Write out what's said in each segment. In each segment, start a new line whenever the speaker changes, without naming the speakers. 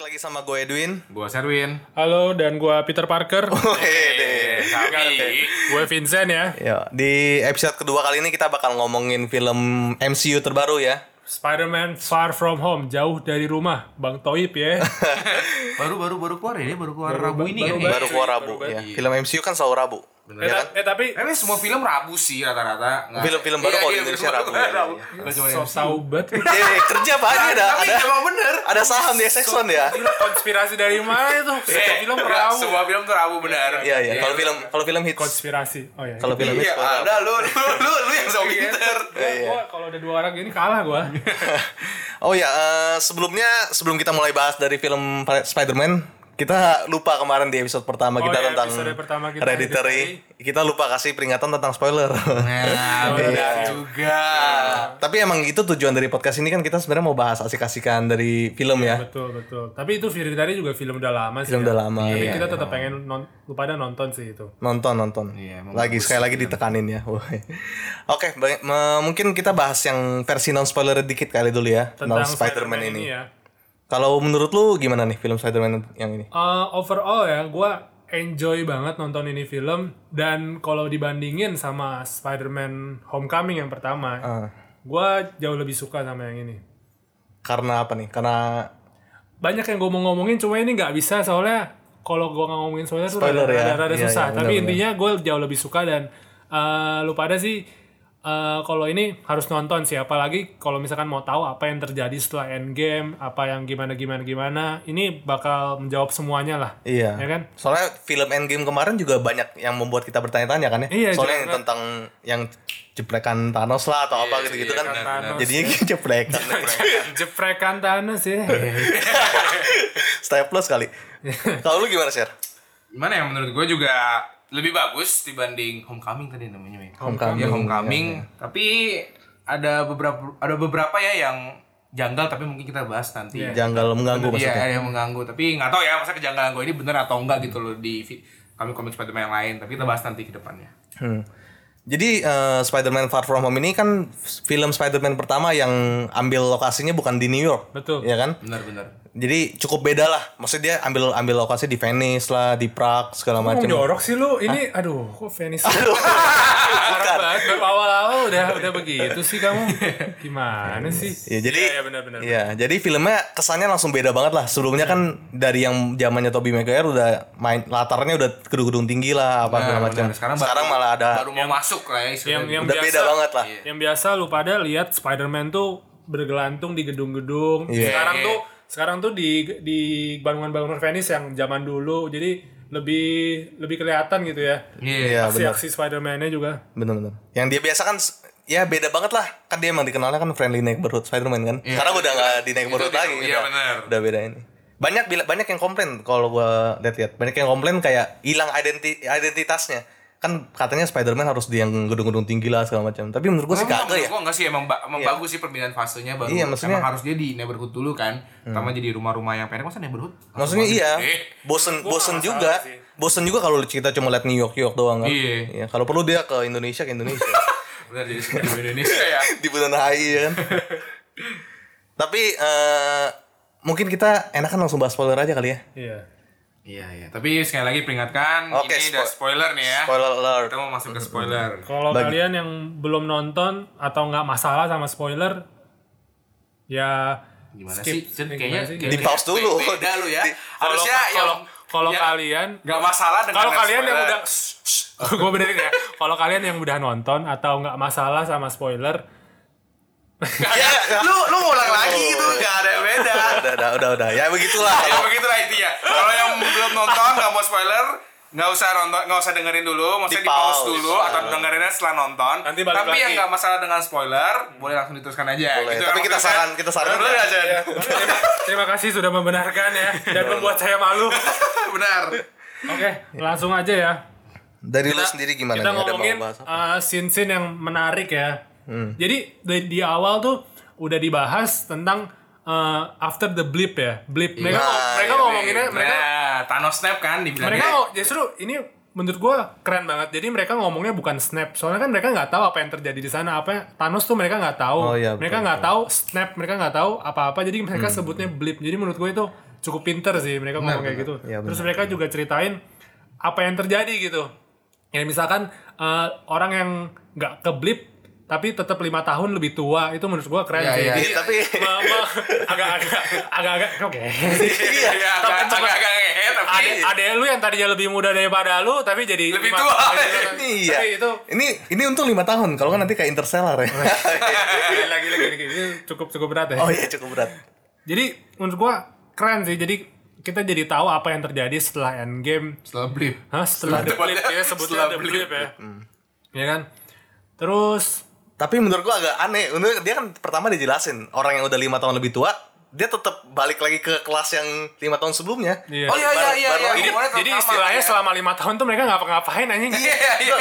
lagi sama gue Edwin.
Gua Serwin.
Halo, dan gua Peter Parker.
Oh.
Eh,
Wede.
Kami.
gue Vincent ya.
Yo, di episode kedua kali ini kita bakal ngomongin film MCU terbaru ya.
Spider-Man Far From Home, jauh dari rumah. Bang Toib ya.
Baru baru baru keluar ya? ini, baru keluar Rabu ini
baru-
kan.
Baru keluar Rabu ya. Film MCU kan selalu Rabu.
eh,
Ya kan?
ta- eh, tapi
Tapi semua film Rabu sih rata-rata. Nggak-
Film-film baru
Iya,
kalau di
iya,
Indonesia
film
Rabu,
baru
ya,
Rabu.
iya.
Nggak cuma
so
yang-
tau banget.
Eh, kerja Pak ini ada
Tapi
ada
emang bener.
ada saham di Sexon ya. Eh,
Gila, konspirasi dari mana itu? Satu film
Nggak,
perahu.
Eh, Semua film tuh Rabu bener.
Iya iya. Kalau film kalau film hits
Konspirasi. Oh ya.
kalau film hits
Iya,
keluar Rabu. Iya.
ada lu lu lu lu yang so pinter.
Gua kalau ada dua orang ini kalah gua.
Oh ya, eh, sebelumnya sebelum kita mulai bahas dari film Spider-Man kita lupa kemarin di episode pertama
Oh,
kita
ya,
iya,
tentang
episode pertama kita,
Hereditary. Kita lupa kasih peringatan tentang spoiler. Iya.
Nah, bener juga.
Tapi emang itu tujuan dari podcast ini kan kita sebenarnya mau bahas asik-asikan dari film ya.
Iya, betul, betul. Tapi itu Fury tadi juga film udah lama sih.
Film
ya.
udah lama.
Tapi
Iya,
kita tetap pengen non, lu pada nonton sih itu.
Nonton nonton.
Iya, emang
lagi
bagus
sekali lagi ditekanin ya. Woi. Oke, ba- me- mungkin kita bahas yang versi non spoiler dikit kali dulu ya tentang, Spider-Man ini.
ya.
Kalau menurut lu gimana nih film Spider-Man yang ini?
Eh, overall ya, gua enjoy banget nonton ini film dan kalau dibandingin sama Spider-Man Homecoming yang pertama,
Ah,
gua jauh lebih suka sama yang ini.
karena apa nih? Karena
Banyak yang gue mau ngomongin, cuma ini nggak bisa soalnya kalau gue ngomongin soalnya tuh
Spoiler
rada,
ya.
rada, rada
Iya,
susah.
iya,
Tapi
benar-benar.
intinya gue jauh lebih suka dan eh, lu pada sih eh, kalau ini harus nonton sih. Apalagi kalau misalkan mau tahu apa yang terjadi setelah Endgame, apa yang gimana gimana gimana, ini bakal menjawab semuanya lah.
iya.
Ya kan?
Soalnya film Endgame kemarin juga banyak yang membuat kita bertanya-tanya kan ya.
Iya,
Soalnya yang
jelas. Iya,
tentang yang jeplekan Thanos lah atau apa gitu-gitu kan.
benar.
Jadinya jeplekan.
Iya.
Jeprekan Thanos
Iya,
ya.
Staples kali. Kalau lu gimana, Sher?
Gimana ya menurut gue juga lebih bagus dibanding Homecoming tadi namanya ya.
Homecoming. iya,
Ya, Homecoming. Tapi ada beberapa ada beberapa ya yang janggal tapi mungkin kita bahas nanti.
Janggal mengganggu
Iya,
Iya. maksudnya.
ada yang mengganggu. Tapi nggak tahu ya masa kejanggalan gue ini bener atau enggak gitu loh di kami komik Spider-Man yang lain. Tapi kita bahas nanti ke depannya.
Hmm. Jadi eh, Spider-Man Far From Home ini kan film Spider-Man pertama yang ambil lokasinya bukan di New York.
Betul.
Iya kan?
Bener-bener.
Jadi cukup beda lah. Maksudnya dia ambil ambil lokasi di Venice lah, di Prague segala
Mau
macam. Ah.
jorok sih lu ini aduh kok Venice
Bukan.
banget baru awal-awal udah udah begitu sih kamu gimana sih
Ya, jadi
Iya, iya, benar-benar.
Iya, jadi filmnya kesannya langsung beda banget lah. Sebelumnya kan dari yang zamannya Tobey Maguire udah main latarnya udah gedung-gedung tinggi lah apa segala macam.
Bener.
Sekarang,
Iya, baru-
malah ada
baru mau masuk lah ya istilahnya.
yang yang
udah
biasa
beda banget lah.
yang biasa lu pada lihat Spider-Man tuh bergelantung di gedung-gedung
Iya.
sekarang tuh sekarang tuh di di bangunan-bangunan Venice yang zaman dulu jadi lebih lebih kelihatan gitu ya
Iya.
Iya,
aksi
benar.
aksi Spider-Man-nya juga
Bener-bener. Yang dia biasa kan s- ya beda banget lah. Kan dia emang dikenalnya kan friendly neighborhood Spider-Man kan. Sekarang udah gak di neighborhood
Iya. Itu dia-
lagi.
iya,
udah,
bener.
Udah beda ini. Banyak bila, banyak yang komplain kalau gua lihat-lihat. Banyak yang komplain kayak hilang identi- identitasnya. Kan katanya Spider-Man harus di yang gedung-gedung tinggi lah segala macam. Tapi menurut gua sih
Emang
kagak ya.
menurut gua enggak sih emang, ba- emang bagus sih perbedaan fasenya baru.
Iya, maksudnya- Hmm.
emang harus dia di neighborhood dulu kan. Pertama jadi rumah-rumah yang pendek masa neighborhood.
Maksudnya iya,
Eh.
bosen
Gua
bosen
nggak
juga.
masalah sih.
Bosen juga kalau kita cuma lihat New York New York doang kan.
Iya.
Iya, kalau perlu dia ke Indonesia ke Indonesia.
Bener jadi seperti di Indonesia ya.
di Bundaran HI ya kan. Tapi eh mungkin kita enakan langsung bahas spoiler aja kali ya.
iya
Iya iya. Tapi sekali lagi peringatkan
Oke,
ini udah
spo-
spoiler nih ya.
Spoiler alert.
Kita mau masuk ke spoiler.
kalau kalian yang belum nonton atau nggak masalah sama spoiler ya
Gimana
skip.
sih? Jen,
Gimana
kayaknya
sih?
Di pause dulu.
Beda lu ya.
kalau
Harusnya
kalau
yang-
kalau
yang
kalian
nggak masalah dengan
kalau
live
kalian yang
spoiler.
udah gue benerin ya kalau kalian yang udah nonton atau nggak masalah sama spoiler
Ya,
lu lu ulang lagi gitu nggak ada yang beda
udah, udah, udah, udah. Ya begitulah.
ya begitulah intinya kalau yang belum nonton nggak mau spoiler nggak usah nonton nggak usah dengerin dulu maksudnya di
Di-pause.
pause dulu atau dengerinnya setelah nonton
Nanti balik
tapi yang
lagi.
nggak masalah dengan spoiler boleh langsung diteruskan aja
Boleh.
Gitu
Tapi
kan,
kita
Mas Jan?
saran- kita saran ya?
bener nggak, Jan?
Iya. terima, terima kasih sudah membenarkan ya dan
Iya.
membuat saya malu oke
benar
langsung aja ya
Dari lu sendiri gimana nih?
kita
Ada
ngomongin
mau bahas apa? Hmm.
uh, scene-scene yang menarik ya jadi di, di awal tuh udah dibahas tentang uh, after the blip ya blip mereka
Nah,
mereka
iya,
ngomonginnya mereka
nah, Thanos snap kan
Nah,
dibilangnya
mereka mau justru ini menurut gue keren banget jadi mereka ngomongnya bukan snap soalnya kan mereka nggak tahu apa yang terjadi di sana apa yang- Thanos tuh mereka nggak tahu
Oh, iya,
mereka
betul, Hmm.
nggak tahu snap mereka nggak tahu apa-apa jadi mereka sebutnya blip jadi menurut gue itu cukup pinter sih mereka ngomong kayak gitu.
Iya,
Terus mereka juga ceritain apa yang terjadi gitu. Ya misalkan eh, orang yang nggak keblip tapi tetap lima tahun lebih tua itu menurut gua keren
Iya,
sih.
iya.
Jadi,
Tapi
ma- ma- agak-agak agak-agak oke.
iya,
Iya,
tapi
agak
cuma-
agak agak ngehe, tapi
Ade, ade lu yang tadinya lebih muda daripada lu tapi
Iya.
jadi
Lebih
lima-
tua.
Iya.
Tapi itu
Ini ini untung lima tahun. Kalau kan nanti kayak interstellar ya.
Iya. lagi lagi ini cukup cukup berat ya.
oh iya cukup berat.
Jadi menurut gua keren sih. Jadi kita jadi tahu apa yang terjadi setelah Endgame
setelah blip.
Hah, setelah the blip ya
Setelah
sebutnya the
blip. Hmm.
blip ya. Ya kan? Terus
Tapi menurut gua agak aneh. Menurut dia kan pertama dijelasin orang yang udah lima tahun lebih tua dia tetap balik lagi ke kelas yang lima tahun sebelumnya.
Iya.
Oh iya iya
Baru-
iya
baru
iya.
lagi.
jadi,
Pokoknya
jadi
sama,
istilahnya
ya.
selama lima tahun tuh mereka nggak ngapain anjing.
Iya iya. iya.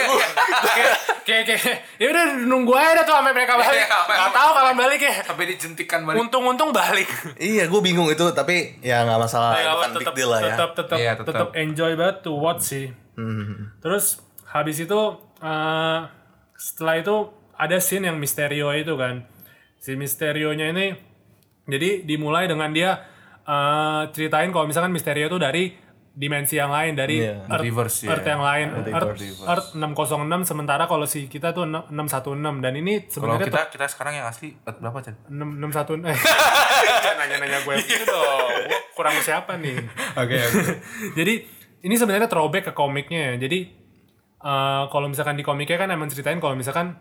kayak kayak kayak, ya udah nunggu aja dah tuh sampai mereka balik.
Iya, sampai-
Nggak tahu kapan balik ya.
Sampai dijentikan balik.
Untung-untung balik.
Iya, gue bingung itu, tapi ya nggak masalah,
Iya,
bukan big deal lah ya.
tetap tetap
Iya, tetap.
tetap enjoy banget to watch sih.
Hmm.
Terus habis itu eh, setelah itu ada scene yang Misterio itu kan. Si Misterionya ini jadi dimulai dengan dia eh, ceritain kalau misalkan Misterio itu dari dimensi yang lain dari
Iya.
Earth,
Multiverse, iya.
Earth yang lain Earth,
Multiverse.
Earth 606 sementara kalau si kita tuh 6- 616 dan ini
Kalau
sebenarnya
kita kita sekarang yang asli eh, berapa, Chan?
616 eh jangan nanya-nanya gue
Iya
gitu dong. Gue kurang siapa nih?
Oke, oke.
Jadi ini sebenarnya throwback ke komiknya ya. Jadi eh, kalau misalkan di komiknya kan emang ceritain kalau misalkan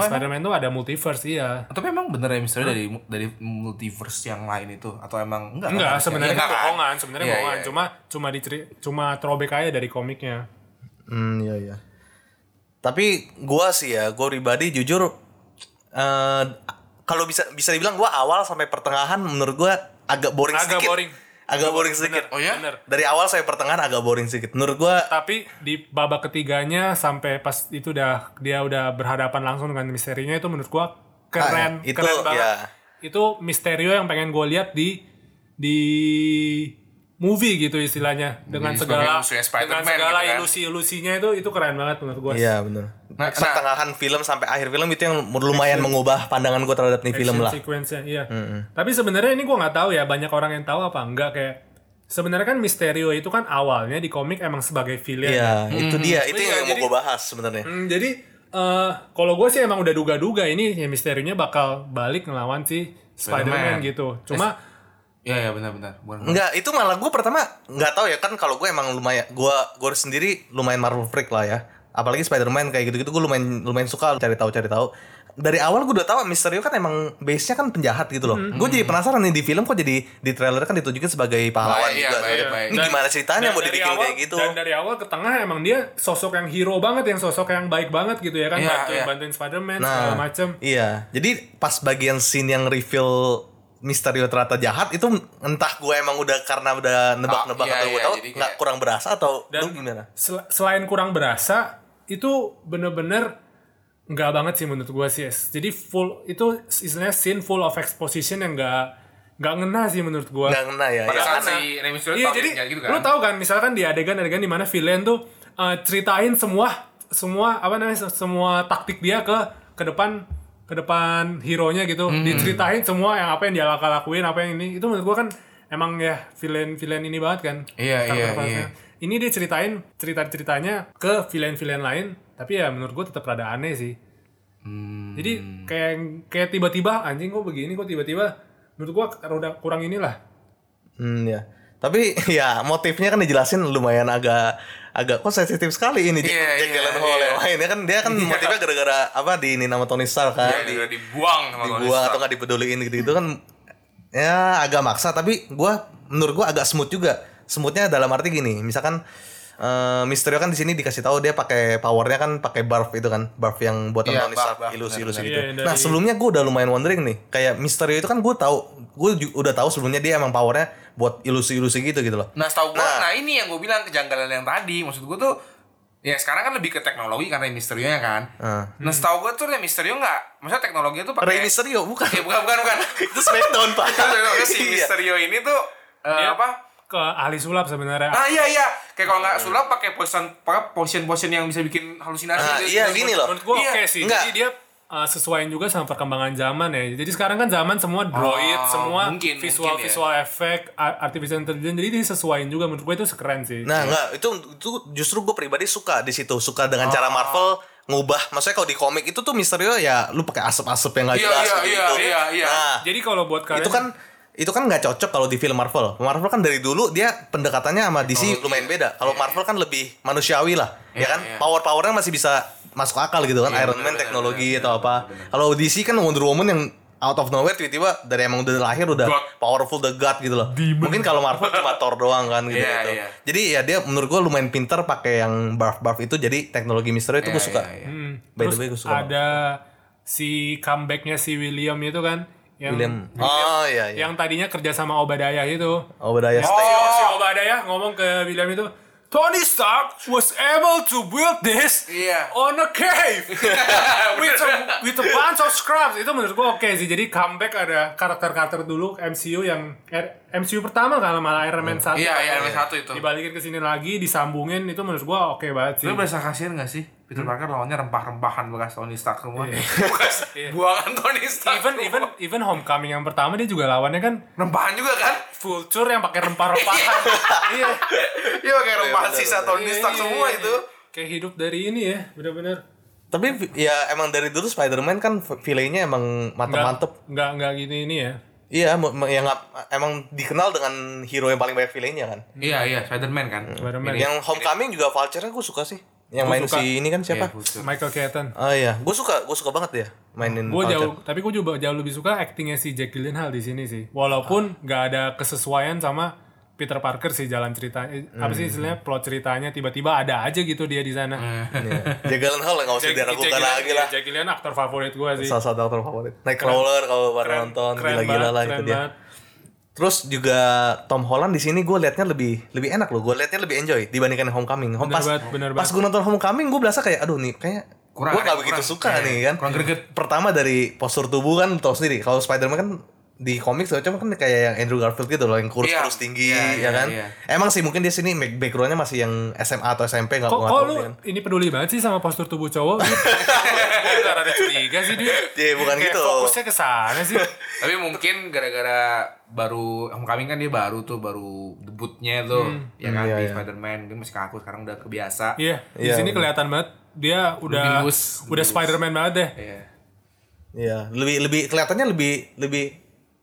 Oh, emang?
Spider-Man tuh ada multiverse iya.
Tapi emang bener ya misalnya dari dari multiverse yang lain itu atau emang enggak?
Enggak,
kan?
sebenarnya
Iya,
itu
kan?
bohongan, sebenarnya
Iya,
bohongan.
iya.
Cuma cuma diceri cuma throwback aja dari komiknya.
Hmm, iya iya. Tapi gua sih ya, gua pribadi jujur eh kalau bisa bisa dibilang gua awal sampai pertengahan menurut gua agak boring
Agak
sedikit.
boring.
Agak boring sedikit. iya.
Oh ya?
Bener.
Dari awal sampai pertengahan agak boring sedikit. Menurut gua
Tapi di babak ketiganya sampai pas itu udah dia udah berhadapan langsung dengan misterinya itu menurut gua
Ah,
keren,
itu,
keren banget.
ya.
Itu misterio yang pengen gue lihat di di movie gitu istilahnya dengan
Jadi
segala
sebagai musuhnya Spider-Man
dengan
gitu
segala
kan.
ilusi-ilusinya itu itu keren banget menurut gua.
Iya benar.
Nah, nah.
pertengahan film sampai akhir film itu yang lumayan mengubah pandangan gua terhadap nih film
Action
lah.
sequence-nya, iya. Tapi sebenarnya ini gua nggak tahu ya banyak orang yang tahu apa enggak kayak sebenarnya kan misterio itu kan awalnya di komik emang sebagai villain.
Iya,
Hmm,
itu dia, itu
Iya,
yang mau
jadi-
gua bahas sebenarnya.
Hmm, jadi eh kalau gue sih emang udah duga-duga ini ya misterinya bakal balik ngelawan si Spider-Man
Spider-Man.
gitu. Cuma
Iya, iya benar-benar. Bukan.
Enggak, itu malah gue pertama nggak tahu ya kan kalau gue emang lumayan gue gue sendiri lumayan Marvel freak lah ya. Apalagi Spider-Man kayak gitu-gitu gue lumayan lumayan suka cari tahu cari tahu. Dari awal gue udah tahu Misterio kan emang base-nya kan penjahat gitu loh.
Mm-hmm.
Gue jadi penasaran nih di film kok jadi di trailer kan ditunjukin sebagai pahlawan
Baik, iya,
juga.
baik, baik.
Ini
Dan-
gimana ceritanya
dan
mau
dari
dibikin
awal-
kayak gitu?
Dan dari awal ke tengah emang dia sosok yang hero banget, yang sosok yang baik banget gitu ya kan,
Iya,
bantuin
iya.
bantuin Spider-Man segala
Nah,
macem.
Iya. Jadi pas bagian scene yang reveal Misterio ternyata jahat itu entah gue emang udah karena udah nebak-nebak
Ah, iya,
atau gue
iya,
tahu
jadi kayak-
nggak kurang berasa atau lu gimana?
Sel- selain kurang berasa, itu bener-bener nggak banget sih menurut gue sih. Es. Jadi full itu istilahnya scene full of exposition yang nggak nggak ngena sih menurut gue.
Nggak ngena ya.
Pada
ya.
saat
karena-
si Remy Sulit
Iya
tahu
jadi
kayak gitu kan.
lu tahu kan misalkan di adegan-adegan di mana villain tuh eh, ceritain semua semua apa namanya se- semua taktik dia ke ke depan ke depan hero-nya gitu
Hmm.
diceritain semua yang apa yang dia lak- lakuin apa yang ini itu menurut gua kan emang ya villain-villain ini banget kan
Iya, iya,
karakter-karakternya. ini dia ceritain cerita-ceritanya ke villain-villain lain tapi ya menurut gua tetap rada aneh sih
Hmm.
jadi kayak kayak tiba-tiba anjing kok begini kok tiba-tiba menurut gua roda kurang inilah
Hmm ya. Tapi ya motifnya kan dijelasin lumayan agak agak kok sensitif sekali ini Jack,
Iya,
Jack
iya,
Gyllenhaal
iya.
yang mainnya kan dia kan motifnya gara-gara apa di ini nama Tony Stark kan
Iya,
di,
udah dibuang sama Tony
dibuang
Stark.
atau nggak dipeduliin gitu gitu kan ya agak maksa tapi gua menurut gua agak smooth juga smoothnya dalam arti gini misalkan eh, Misterio kan di sini dikasih tahu dia pakai powernya kan pakai barf itu kan barf yang buatan
Iya,
Tony
barf,
Stark
barf,
ilusi-ilusi
benar,
gitu.
benar. Iya, yang
nah
dari-
sebelumnya gua udah lumayan wondering nih kayak Misterio itu kan gua tahu gua ju- udah tahu sebelumnya dia emang powernya buat ilusi-ilusi gitu gitu loh.
Nah, setahu gua, nah. ini yang gua bilang kejanggalan yang tadi. Maksud gua tuh ya sekarang kan lebih ke teknologi karena misterionya kan.
Heeh.
Hmm.
Nah, setahu gua tuh Rey Mysterio enggak. Maksudnya teknologi tuh pakai
Rey Mysterio bukan
Iya, bukan bukan bukan.
itu Smackdown pak.
Itu teknologi si
Iya.
Mysterio ini tuh eh,
Dia-
apa?
ke ahli sulap sebenarnya.
Ah iya iya, kayak kalau
Hmm.
nggak sulap pakai potion pakai potion potion yang bisa bikin halusinasi.
Ah,
gitu.
iya, gini loh.
Menurut gua
Iya,
oke sih.
enggak.
Jadi dia uh, sesuaiin juga sama perkembangan zaman ya. Jadi sekarang kan zaman semua droid,
Ah,
Oh,
semua
mungkin,
visual
mungkin ya.
visual effect, a- artificial intelligence. Jadi disesuaiin juga menurut gue itu sekeren sih.
Nah, enggak, itu itu justru gue pribadi suka di situ, suka dengan cara Marvel ngubah. Maksudnya kalau di komik itu tuh Misterio ya lu pakai asap-asap yang gak
Iya,
jelas
iya,
gitu.
iya, iya, iya.
Nah,
Jadi kalau buat kalian
itu kan itu kan nggak cocok kalau di film Marvel. Marvel kan dari dulu dia pendekatannya sama DC lumayan beda. Kalau Marvel kan lebih manusiawi lah, ya
Oh. Iya,
kan?
iya.
Power-powernya masih bisa masuk akal gitu kan.
Iya,
Iron Man
benar,
teknologi
benar,
atau apa. Kalau DC kan Wonder Woman yang out of nowhere tiba-tiba dari emang udah lahir udah
God.
powerful the god gitu loh. Mungkin kalau Marvel cuma Thor doang kan gitu.
Iya,
gitu.
iya.
Jadi ya dia menurut gua lumayan pinter pakai yang buff-buff itu. Jadi teknologi misteri itu
Iya,
gua suka.
iya, iya.
Hmm.
By the
Terus
way, gue suka
ada si comebacknya si William itu kan yang
William. Oh iya iya.
yang tadinya kerja sama Obadiah itu.
Oh,
Obadiah
Si-
Stane.
Si Obadiah ngomong ke William itu Tony Stark was able to build this
Iya.
on a cave with a, with a bunch of scraps itu menurut gua oke sih jadi comeback ada karakter-karakter dulu MCU yang eh, MCU pertama kan malah Iron Man 1
Iya, iya, yang satu itu.
dibalikin ke sini lagi disambungin itu menurut gua oke banget sih Hmm.
Lu berasa kasihan gak sih? Peter Parker lawannya rempah-rempahan bekas Tony Stark semua. Bekas buangan Tony Stark.
Iya. even
semua.
even even Homecoming yang pertama dia juga lawannya kan
rempahan juga kan?
vulture yang pakai rempah-rempahan iya
Iya, kayak rempahan
benar,
sisa Tony Stark
Iya,
semua
iya,
itu.
iya. kayak hidup dari ini ya bener-bener
Tapi ya emang dari dulu Spider-Man kan filenya emang mantep-mantep.
nggak nggak gini ini ya
Iya, mo- mo- yang nggak- emang dikenal dengan hero yang paling banyak filenya kan.
Iya, iya, Spider-Man kan.
Hmm.
Spider-Man.
Yang Homecoming juga Vulture-nya gue suka sih. Yang main
Iya. suka. Iya,
si ini kan
Iya,
siapa?
Michael Keaton
Oh iya, gue suka, gue suka banget dia mainin
gue
Vulture.
jauh tapi gue juga jauh lebih suka aktingnya si Jack Gyllenhaal di sini sih
Ah.
walaupun nggak ada kesesuaian sama Peter Parker sih jalan ceritanya eh, apa
Hmm.
sih istilahnya plot ceritanya tiba-tiba ada aja gitu dia di sana
Iya. Jack Gyllenhaal nggak usah
Jack-
diragukan
Gyllenhaal- ya, iya,
lagi lah.
Jack Gyllenhaal aktor favorit gue sih
Salah satu aktor favorit. Nightcrawler kalau
Keren-
baru nonton
keren
gila-gila
banget,
lah
keren
itu dia.
banget.
Terus juga Tom Holland di sini gue liatnya lebih lebih enak loh. Gue liatnya lebih enjoy dibandingkan Homecoming. Home,
Bener
pas
banget, bener
pas
banget.
gue nonton Homecoming gue berasa kayak aduh nih kayak gue
Kurang,
gak
kurang.
begitu suka
Iya,
nih kan.
kurang greget.
Pertama dari postur tubuh kan tau sendiri. Kalau Spider-Man kan di komik macam kan kayak yang Andrew Garfield gitu loh yang kurus
Iya.
kurus tinggi
Iya,
ya
iya,
kan.
iya.
Emang sih mungkin dia sini back- backgroundnya masih yang SMA atau SMP nggak
kok
nggak
kok
tahu
lu
dia kan.
ini peduli banget sih sama postur tubuh cowok gue ada curiga sih dia
Iya, bukan
Kayak ya?
gitu.
fokusnya ke sana sih
Tapi mungkin gara-gara baru Homecoming kan dia baru tuh baru debutnya tuh ya kan
Hmm, iya,
di
iya.
Spider-Man dia masih kaku sekarang udah kebiasa.
iya di
Iya,
sini
bener.
kelihatan banget dia udah
Lebih loose,
udah
lebih loose.
Spider-Man banget deh
Iya.
Iya, lebih lebih kelihatannya lebih lebih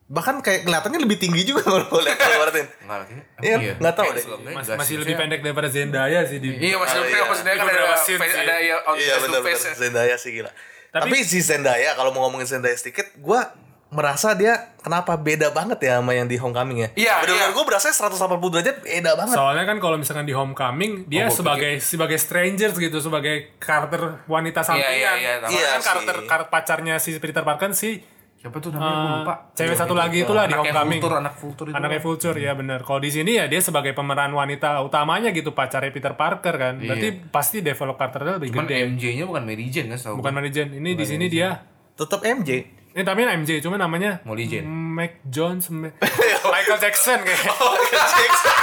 bahkan kayak kelihatannya lebih tinggi juga kalau gue lihat kalau gue liatin.
Enggak lagi.
Iya, nggak tahu deh.
Mas- masih lebih pendek daripada Zendaya sih di
Iya, masih
Oh, iya.
lebih pendek maksudnya kan
Di
ada
beberapa scene
face
sih.
ada ya on
Iya
face to
benar benar
face.
Zendaya sih gila.
Tapi-
Tapi, si Zendaya kalau mau ngomongin Zendaya sedikit, gue merasa dia kenapa beda banget ya sama yang di Homecoming ya.
Iya,
benar-benar
iya.
gue berasa 180 derajat beda banget.
Soalnya kan kalau misalkan di Homecoming
Oh,
dia
gua
sebagai sebagai strangers gitu, sebagai karakter wanita sampingan.
iya, iya, sama.
Iya
kan karakter
sih.
karakter pacarnya si Peter Parker kan si
Siapa tuh namanya Gua lupa.
cewek
Iya,
satu
iya.
lagi itulah di
Anak yang
Homecoming.
Vulture, anak Vulture itu.
Anaknya Vulture ya benar. Kalau di sini ya dia sebagai pemeran wanita utamanya gitu pacarnya Peter Parker kan. Berarti pasti develop karakternya lebih
Iya. Cuman
gede.
MJ-nya bukan Mary Jane kan, setahu
Bukan Mary Jane. Ini di sini dia
Tetap MJ.
ini tapi MJ cuma namanya
Molly Jane.
Mac Jones Ma- Michael Jackson kayaknya.
Oh,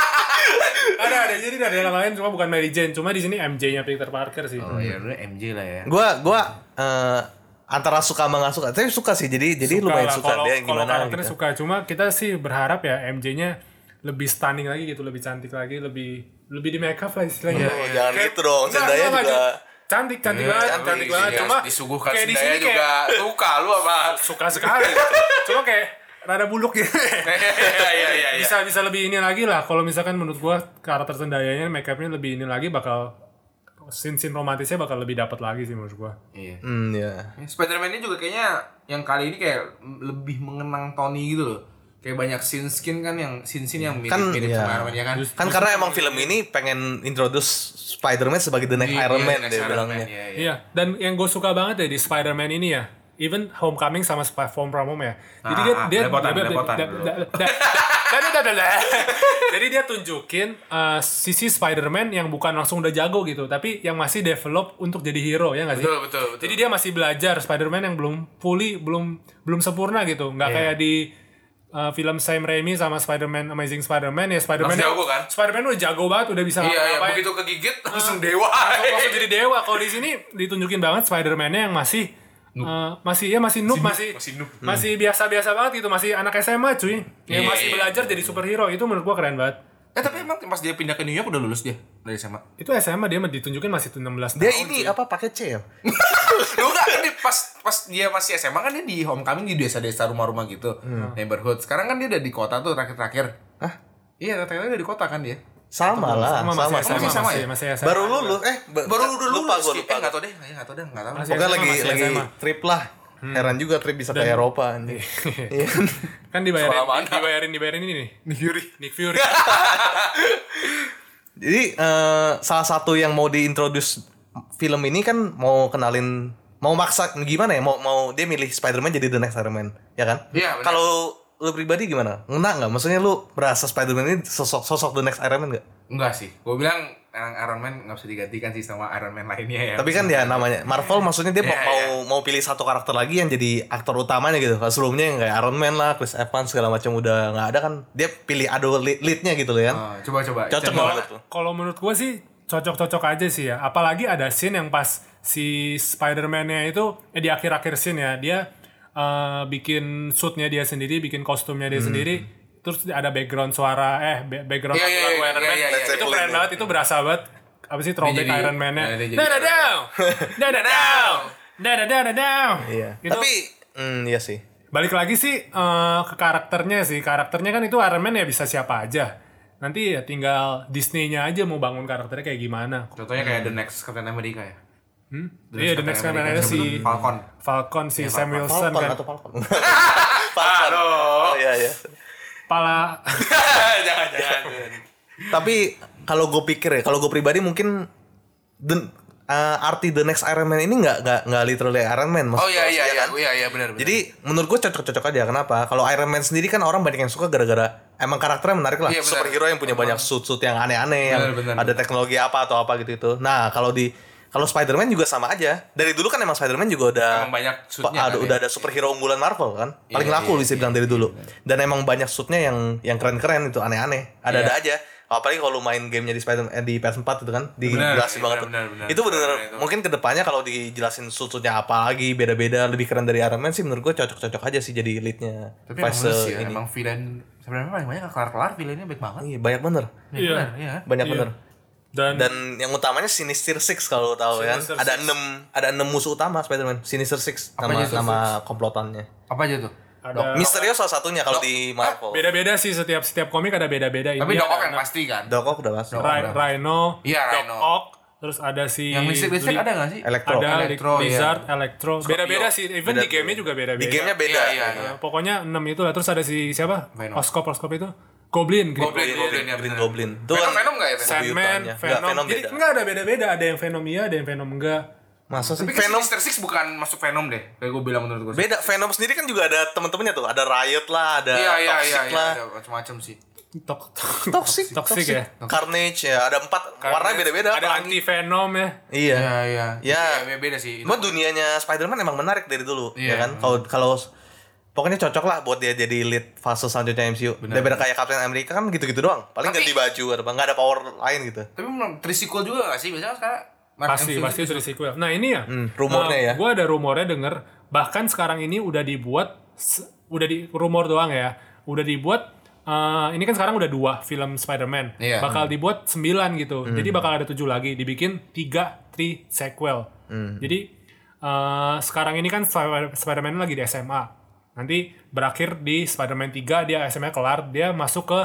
ada ada jadi ada yang lain cuma bukan Mary Jane, cuma di sini MJ-nya Peter Parker sih.
gua. Oh iya, dulu MJ lah ya.
Gue gue eh, antara suka sama nggak suka, tapi suka sih. Jadi jadi
Suka
lumayan
lah,
suka
kalau-
dia yang
kalau
gimana
karakternya
gitu.
suka cuma kita sih berharap ya MJ-nya lebih stunning lagi gitu lebih cantik lagi lebih lebih di make up lah istilahnya
Oh, jangan
Kayak-
gitu dong,
Enggak,
Zendaya
enggak,
juga-
enggak. cantik cantik banget
Cantik,
cantik banget
iya.
cuma
disuguhkan
kayak di
Zendaya
sini
juga
kayak
suka lu Iya, sama
suka sekali cuma kayak rada buluk gitu
Iya iya iya. iya.
bisa bisa lebih ini lagi lah kalau misalkan menurut gua karakter Zendayanya make upnya lebih ini lagi bakal scene scene romantisnya bakal lebih dapat lagi sih menurut gua
Iya.
Hmm ya.
Spider-Man ini juga kayaknya yang kali ini kayak lebih mengenang Tony gitu loh. Kayak banyak scene skin kan yang scene scene yang mirip
Kan,
mirip
iya.
sama Iron Man ya kan.
Kan karena emang film ini pengen introduce Spider-Man sebagai the next
Iya,
Iron Man
next
dia
Iron
bilangnya.
Man, Iya iya.
Iya, dan yang gue suka banget ya di Spider-Man ini ya, even Homecoming sama Spy From From Home ya. Jadi dia
Ah, ah,
dia
belepotan,
dia- dia-
belepotan
dia-
dulu.
dia- dia- dia- dia- dia- dia- Jadi dia tunjukin eh, sisi Spider-Man yang bukan langsung udah jago gitu, tapi yang masih develop untuk jadi hero ya nggak sih?
Betul betul betul.
Jadi dia masih belajar Spider-Man yang belum fully, belum belum sempurna gitu. Nggak
Iya.
kayak di uh, film Sam Raimi sama Spider-Man Amazing Spider-Man ya Spider-Man.
Langsung jago kan?
Spider-Man udah jago banget, udah bisa
Iya iya
ngapa-ngapain.
begitu kegigit langsung dewa.
Langsung jadi dewa. Kalau di sini ditunjukin banget Spider-Man-nya yang masih eh, masih ya masih noob masih
masih noob. Hmm.
masih biasa-biasa banget gitu masih anak SMA cuy yang
Iya,
masih
iya.
belajar jadi superhero itu menurut gua keren banget
Eh tapi emang pas dia pindah ke New York udah lulus dia dari SMA.
itu SMA dia ditunjukin masih 16
Dia
tahun
ini apa pakai C ya?
Lu enggak kan dia pas pas dia masih SMA kan dia di homecoming di desa-desa rumah-rumah gitu, neighborhood. Sekarang kan dia udah di kota tuh terakhir-terakhir.
Hmm. Hah?
Iya, terakhir-terakhir udah di kota kan dia.
Sama lah,
sama
sama,
masih
sama.
SMA,
masih sama
masih,
ya?
masih SMA.
Baru lulus eh ba-
Baru udah lulus.
lupa gua
Ki.
lupa.
Eh, enggak tahu deh, eh, enggak tahu deh, enggak tahu.
Masih
Pokoknya
SMA,
lagi
masih
lagi
SMA.
trip lah. Heran juga trip bisa ke Eropa anjing. Iya.
kan dibayarin
Sekolah mana?
dibayarin dibayarin ini nih
Nick Fury.
Nick Fury
Jadi eh, salah satu yang mau diintroduce film ini kan mau kenalin mau maksa gimana ya mau mau dia milih Spider-Man jadi the next Iron Man, ya kan?
Iya, benar.
Kalau lu pribadi gimana? Ngena nggak? Maksudnya lu merasa Spider-Man ini sosok sosok the next Iron Man nggak?
Enggak sih. Gua bilang eh, Iron Man nggak bisa digantikan sih sama Iron Man lainnya ya.
Tapi kan ya namanya Marvel maksudnya dia mau
Iya,
mau mau pilih satu karakter lagi yang jadi aktor utamanya gitu. Kalau sebelumnya yang kayak Iron Man lah, Chris Evans segala macam udah nggak ada kan. Dia pilih ado lead- leadnya gitu loh ya.
Eh, coba coba.
Cocok
Coba.
banget tuh.
kalau menurut gue sih cocok-cocok aja sih ya. Apalagi ada scene yang pas si Spider-Man-nya itu eh, di akhir-akhir scene ya, dia eh, bikin suitnya dia sendiri, bikin kostumnya dia sendiri. Terus ada background suara eh ba- background
Hmm. Iya, iya,
lagu
iya,
Iron
iya,
Man.
iya, iya,
itu
iya.
keren banget, itu berasa banget. Apa sih throwback
Dia jadi-
Iron Man-nya?
Nah, dia jadi-
Dada down. Dada down. Dada dada down.
Iya.
Itu-
Tapi hmm, iya sih.
Balik lagi sih eh, ke karakternya sih. Karakternya kan itu Iron Man ya bisa siapa aja. Nanti ya tinggal Disney-nya aja mau bangun karakternya kayak gimana.
Contohnya kayak The Next Captain America ya.
Hmm? Iya, the next
Captain
Captain
America. Siapa
America si
tuh? Iya, Falcon.
Falcon si Sam Wilson
Falcon
kan.
atau Falcon? Falcon. Oh iya iya.
Pala
jangan jangan.
Tapi kalau gue pikir ya, kalau gue pribadi mungkin the- eh, arti the next Iron Man ini nggak nggak nggak literally Iron Man.
Oh
maksud-
iya iya iya
kan?
iya iya benar benar.
Jadi menurut gue cocok-cocok aja kenapa? Kalau Iron Man sendiri kan orang banyak yang suka gara-gara emang karakternya menarik lah.
Iya, benar.
Superhero yang punya banyak suit-suit yang aneh-aneh yang
Benar, benar,
ada teknologi apa atau apa gitu-gitu. Nah, kalau di kalau Spider-Man juga sama aja. Dari dulu kan emang Spider-Man juga udah
Emang banyak suitnya
ada,
kan,
udah
ya?
ada superhero unggulan Marvel kan. Paling
Iya,
laku
iya,
bisa bilang dari dulu. Dan emang banyak suitnya yang yang keren-keren itu aneh-aneh. Ada-ada
Iya.
aja. Apalagi kalau lu main gamenya di Spider eh, di PS4 itu kan dijelasin
iya,
banget.
benar,
tuh.
benar,
itu
benar.
benar
Itu.
mungkin kedepannya kalau dijelasin susunya apa lagi beda-beda lebih keren dari Iron Man sih menurut gue cocok-cocok aja sih jadi leadnya
Tapi emang
fase
bagus sih ya,
ini
emang villain sebenarnya paling banyak kelar-kelar villainnya baik banget.
Iya, banyak bener
Iya.
Benar, iya.
banyak
Iya.
bener
dan,
dan yang utamanya Sinister Six kalau lo tahu kan
Sinister
ada
Six.
enam ada enam musuh utama Spider-Man Sinister Six
Apa
nama
aja tuh,
nama komplotannya
Apa aja tuh? Doc-
Ada-
Misterio salah satunya kalau di
ah,
Marvel
beda-beda sih setiap setiap komik ada beda-beda ini.
Tapi Doc
ada
Ock yang
Iya, anak-
pasti kan.
Doc Ock udah masuk
Doc Ock.
Ri- Rhino,
Iya,
Doc
Rhino.
Ock, terus ada si
Yang listrik-listrik
Li-
ada nggak sih?
Electro
Ada
Electro, iya.
Li- Lizard, Electro. Beda-beda sih, even di gamenya juga beda-beda.
di gamenya beda
Iya, iya, iya.
Nah, pokoknya 6 itu lah terus ada si siapa?
Venom.
Oskop, Oskop itu. Goblin, Green
Goblin, Goblin, ya,
Green
benar.
Goblin Tuh
Venom,
kan-
Venom nggak ya, Venom?
Lebih
Sandman,
utamanya.
Venom.
Nggak, Venom
Jadi
beda.
enggak ada beda-beda, ada yang Venom iya, ada yang Venom enggak.
masa sih
Tapi
Venom
Venom Sinister Six bukan masuk Venom deh. Kayak gue bilang menurut gue.
beda Venom sendiri kan juga ada temen-temennya tuh ada Riot lah ada
Iya iya iya
Toxic
iya,
lah
ada macam-macam sih.
Tok,
Toxic,
Toxic ya?
Carnage ya, ada empat warna beda-beda.
ada
pelangi.
anti Venom ya.
Iya.
Iya iya.
Ya.
Iya, beda sih.
Cuma dunianya Spider-Man emang menarik dari dulu,
Iya.
ya kan? Kalau kalau pokoknya cocok lah buat dia jadi lead fase selanjutnya MCU. Daripada kayak Captain America kan gitu-gitu doang. Paling
Tapi-
ganti baju ada apa? Nggak ada power lain gitu.
Tapi memang trisikul juga gak sih? Biasanya kan sekarang Marvel
pasti
MCU
pasti itu di sequel. Nah ini ya
rumornya ya.
Gue ada rumornya denger bahkan sekarang ini udah dibuat se- udah di rumor doang ya udah dibuat eh, ini kan sekarang udah dua film Spider-Man
Iya.
Hmm.
bakal dibuat sembilan gitu jadi bakal ada tujuh lagi dibikin tiga three sequel
Hmm.
jadi eh, sekarang ini kan Spider- Spider-Man lagi di SMA nanti berakhir di Spider-Man 3 dia SMA kelar dia masuk ke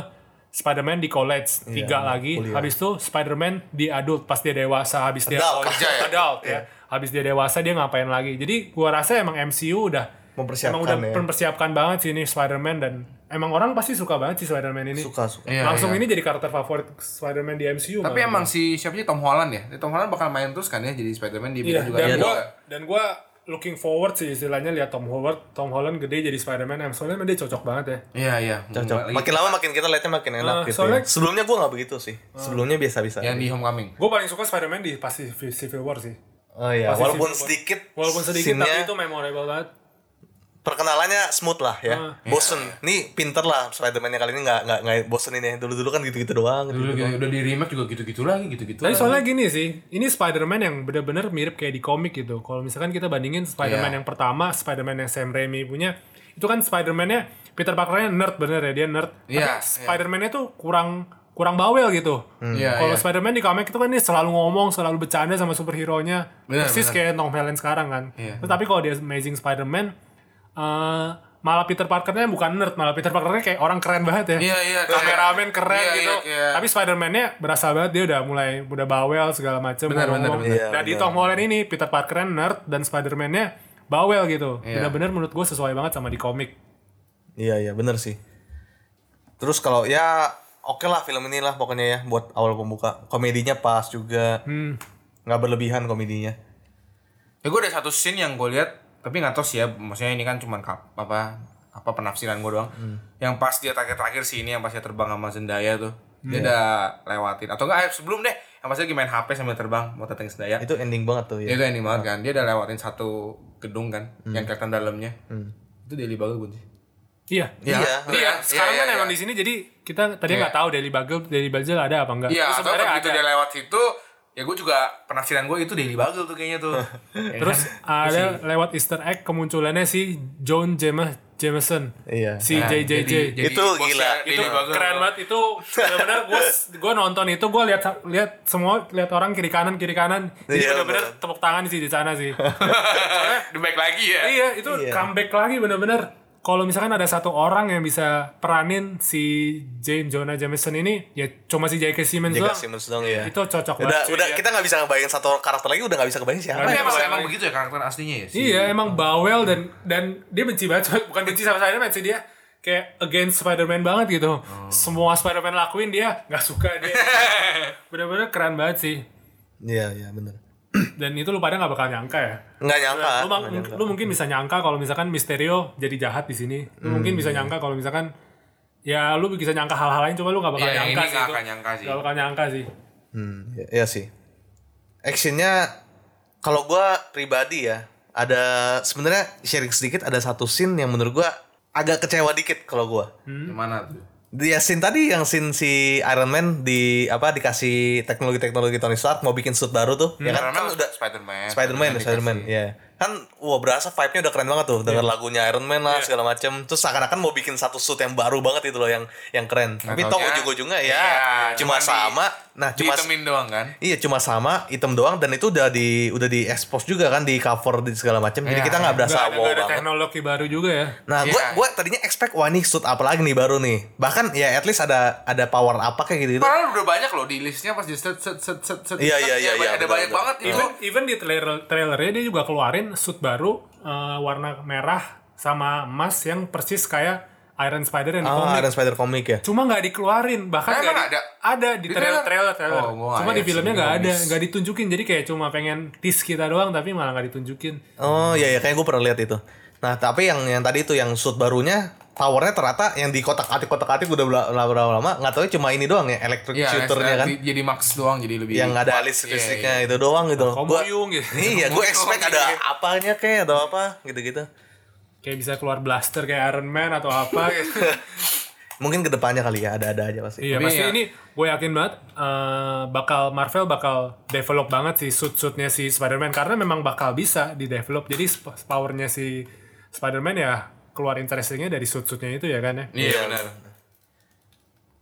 Spider-Man di college
Iya,
tiga lagi habis itu Spider-Man di adult pas dia dewasa habis dia
Adult,
college-
kerja ya?
adult ya. Habis dia dewasa dia ngapain lagi. Jadi gua rasa emang MCU udah
Mempersiapkan
emang udah
ya.
mempersiapkan banget sih ini Spider-Man dan emang orang pasti suka banget sih Spider-Man ini.
Suka suka.
Iya,
Langsung
iya.
ini jadi karakter favorit Spider-Man di MCU.
Tapi
malah.
emang si siapa sih Tom Holland ya? Tom Holland bakal main terus kan ya jadi Spider-Man di beda
iya,
juga.
dan
Iya,
gua dan gua looking forward sih istilahnya lihat Tom Holland, Tom Holland gede jadi Spider-Man. Em, Soalnya emang dia cocok banget ya.
Iya iya.
Cocok.
Lagi-
Makin lama makin kita lihatnya makin enak
Ah,
gitu. ya.
soalnya- Ya.
Sebelumnya gua nggak begitu sih. Sebelumnya biasa-biasa.
Yang di Homecoming.
Gue paling suka Spider-Man di pasti Civil War sih.
Oh iya,
Pasti
walaupun
sih,
sedikit
Walaupun sedikit
scene-nya-
tapi itu memorable banget.
perkenalannya smooth lah ya.
Eh.
bosen. Nih pinter lah Spider-Man-nya kali ini nggak nggak nggak bosenin ya. Dulu-dulu kan gitu-gitu doang.
Udah, gitu, udah di remake juga gitu-gitu lagi, gitu-gitu.
Tapi
lagi.
Nah, soalnya gini sih, ini Spider-Man yang bener-bener mirip kayak di komik gitu. Kalau misalkan kita bandingin
Iya.
Spider-Man yang pertama, Spider-Man yang Sam Raimi punya, itu kan Spider-Man-nya Peter Parker-nya nerd bener ya, dia nerd. Tapi
Iya, iya.
Spider-Man-nya tuh kurang kurang bawel gitu.
Iya,
Kalau
iya.
Spider-Man di komik itu kan dia selalu ngomong, selalu bercanda sama superhero-nya.
Bener, Iya.
Persis kayak Tom Holland sekarang kan. Tetapi kalau di Amazing Spider-Man eh, malah Peter Parker-nya bukan nerd, malah Peter Parker-nya kayak orang keren banget ya
Iya, iya. kayak-
kameramen keren
Iya,
gitu.
iya, iya.
Tapi Spider-Man-nya berasa banget dia udah mulai udah bawel segala macam.
Benar, benar, benar.
Iya,
Dan di Tom Holland ini Peter Parker nerd dan Spider-Man-nya bawel gitu.
Iya.
Benar-benar menurut gue sesuai banget sama di komik.
Iya iya bener sih. Terus kalau ya oke lah film ini lah pokoknya ya buat awal pembuka. Komedinya pas juga.
Hmm.
Nggak berlebihan komedinya.
Ya gue ada satu scene yang gue lihat tapi nggak tahu sih ya maksudnya ini kan cuman kap, apa apa penafsiran gue doang.
Hmm.
Yang pas dia terakhir-terakhir sih ini yang pas dia terbang sama Zendaya tuh. Dia
Iya.
udah lewatin atau enggak eh, sebelum deh yang pas dia lagi main HP sambil terbang mau datang Zendaya.
Iya.
Itu ending banget tuh ya.
Dia tuh ini
Ah.
banget kan. Dia udah lewatin satu gedung kan
Hmm.
yang kelihatan dalamnya. Itu Daily Bugle sih.
Iya.
Iya.
Iya,
Sekarang
iya,
kan
iya,
emang di sini jadi kita tadi nggak tahu Daily Bugle Daily Bugle ada apa enggak.
Iya,
Terus
atau
sebenarnya
begitu
ada.
dia lewat situ ya gue juga penafsiran gue itu Daily Bugle tuh kayaknya tuh. Ya
Terus
kan?
ada lewat Easter egg kemunculannya si John James Jameson.
Iya.
Si
Nah,
JJJ.
jadi- jadi
Itu
bosnya
gila.
Daily
itu
Bugle.
keren banget itu benar-benar gue gue nonton itu gue lihat lihat semua lihat orang kiri kanan kiri kanan jadi
Iya,
benar-benar
bener.
tepuk tangan sih di sana sih
Di back lagi ya.
iya itu
Iya.
comeback lagi benar-benar kalau misalkan ada satu orang yang bisa peranin si Jane Jonah Jameson ini ya cuma si J.K. Simmons
Jaga
doang
Simmons dong ya.
itu cocok
udah
banget sih. ya.
udah kita nggak bisa ngebayangin satu karakter lagi udah nggak bisa kebayang siapa.
Tapi
ya.
emang, emang begitu ya karakter aslinya ya si-
iya
Hmm.
emang bawel dan dan dia benci banget Cuma bukan benci sama Spider-Man sih dia kayak against Spider-Man banget
Oh.
gitu semua Spider-Man lakuin dia nggak suka dia bener-bener keren banget sih
Iya iya bener.
dan itu lu pada nggak bakal nyangka ya
Nggak nyangka.
Ah,
lu, mang- lu mungkin bisa nyangka kalau misalkan Misterio jadi jahat di sini lu
Hmm.
mungkin bisa nyangka kalau misalkan ya lu bisa nyangka hal-hal lain cuma lu nggak bakal
Iya, yang
nyangka
ini
sih
nggak
itu.
akan nyangka sih.
Nggak bakal nyangka sih
Hmm, ya, iya sih. Actionnya kalau gua pribadi ya ada sebenarnya sharing sedikit ada satu scene yang menurut gua agak kecewa dikit kalau gua.
Gimana tuh?
Dia scene tadi yang scene si Iron Man di apa dikasih teknologi-teknologi Tony Stark mau bikin suit baru tuh,
Hmm.
ya kan?
Karena
Kan udah
Spider-Man. gitu
Spider-Man,
Spider-Man
Spider-Man, ya. Kan wah berasa vibe-nya udah keren banget tuh dengan lagunya Iron Man lah segala macem Terus seakan-akan mau bikin satu suit yang baru banget itu loh yang yang keren. Tapi toh
taunya-
ujung-ujungnya ya,
Iya,
cuma
cuman di-
sama. Nah, cuma
Ditemin doang kan?
Iya cuma sama item doang dan itu udah di udah di expose juga kan di cover di segala macam. Jadi kita nggak berasa
nggak ada,
wow
nggak ada
banget.
teknologi baru juga ya
Nah, gue gua tadinya expect wah ini suit apa lagi nih baru nih. Bahkan ya at least ada ada power apa kayak gitu.
Padahal udah banyak loh di listnya pas di set set set set set.
Iya,
set,
iya, iya, iya, benar,
Ada banyak
benar.
banget itu.
even even di trailer trailernya dia juga keluarin suit baru eh, warna merah sama emas yang persis kayak Iron Spider yang di
Ah,
komik
Iron Spider komik ya.
cuma nggak dikeluarin
Nah,
bahkan nggak
emang
di-
ada?
ada di
Di
trailer trailer
trailer?
trailer
Oh, gua nggak
cuma di
lihat
filmnya
sih,
nggak
gua
ada
miss.
nggak ditunjukin jadi kayak cuma pengen tis kita doang tapi malah nggak ditunjukin
Oh iya ya kayak gue pernah lihat itu. Nah tapi yang yang tadi itu yang suit barunya powernya ternyata yang di kotak atik kotak atik udah bela- lama lama lama nggak tahu cuma ini doang ya electric
Iya,
shooternya kan
di- jadi max doang jadi lebih.
yang ada alis
Iya,
listriknya
iya.
itu doang gitu loh. Gua-
Komoyung gitu.
Iya, gue expect ada apanya kayak atau apa gitu-gitu.
kayak bisa keluar blaster kayak Iron Man atau apa gitu.
Iya.
Mungkin kedepannya kali ya ada-ada aja pasti.
iya
Tapi
pasti
ya-
ini gue yakin banget eh, bakal Marvel bakal develop banget si suit-suitnya si Spider-Man karena memang bakal bisa di develop jadi sp- powernya si Spider-Man ya keluar interestingnya dari suit-suitnya itu ya kan ya
Iya benar.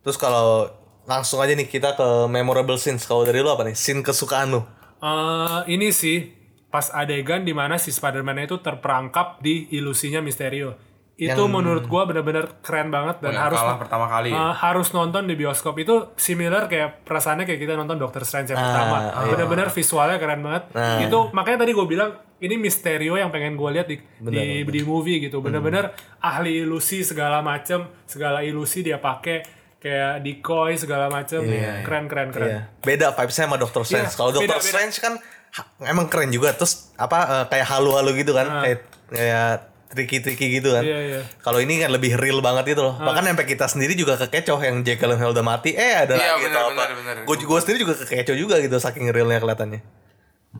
Terus kalau langsung aja nih kita ke memorable scenes. Kalau dari lu apa nih? Scene kesukaan lu.
eh ini sih pas adegan dimana si Spider-Man itu terperangkap di ilusinya Misterio. Itu menurut gua benar-benar keren banget dan
Yang
harus
kalah ya? pertama kali.
eh, harus nonton di bioskop itu similar kayak perasaannya kayak kita nonton Doctor Strange yang pertama. Benar-benar visualnya keren banget. Itu makanya tadi gue bilang ini Misterio yang pengen gue lihat di di, di movie gitu. Benar-benar ahli ilusi segala macem, segala ilusi dia pakai kayak decoy segala macem. keren keren keren.
Iya. Beda vibes-nya sama Doctor Strange.
Iya,
kalau Doctor
beda-beda.
Strange kan ha- emang keren juga. Terus apa eh, kayak halu-halu gitu kan? Kayak kayak triki-triki gitu kan.
Ah. Iya, Ah. iya.
Kalau ini kan lebih real banget gitu loh. Bahkan sampai kita sendiri juga kekecoh yang Jack Gyllenhaal udah mati, eh ada
Iya,
lagi
benar,
atau apa.
benar, benar.
Gue sendiri juga kekecoh juga gitu saking realnya kelihatannya.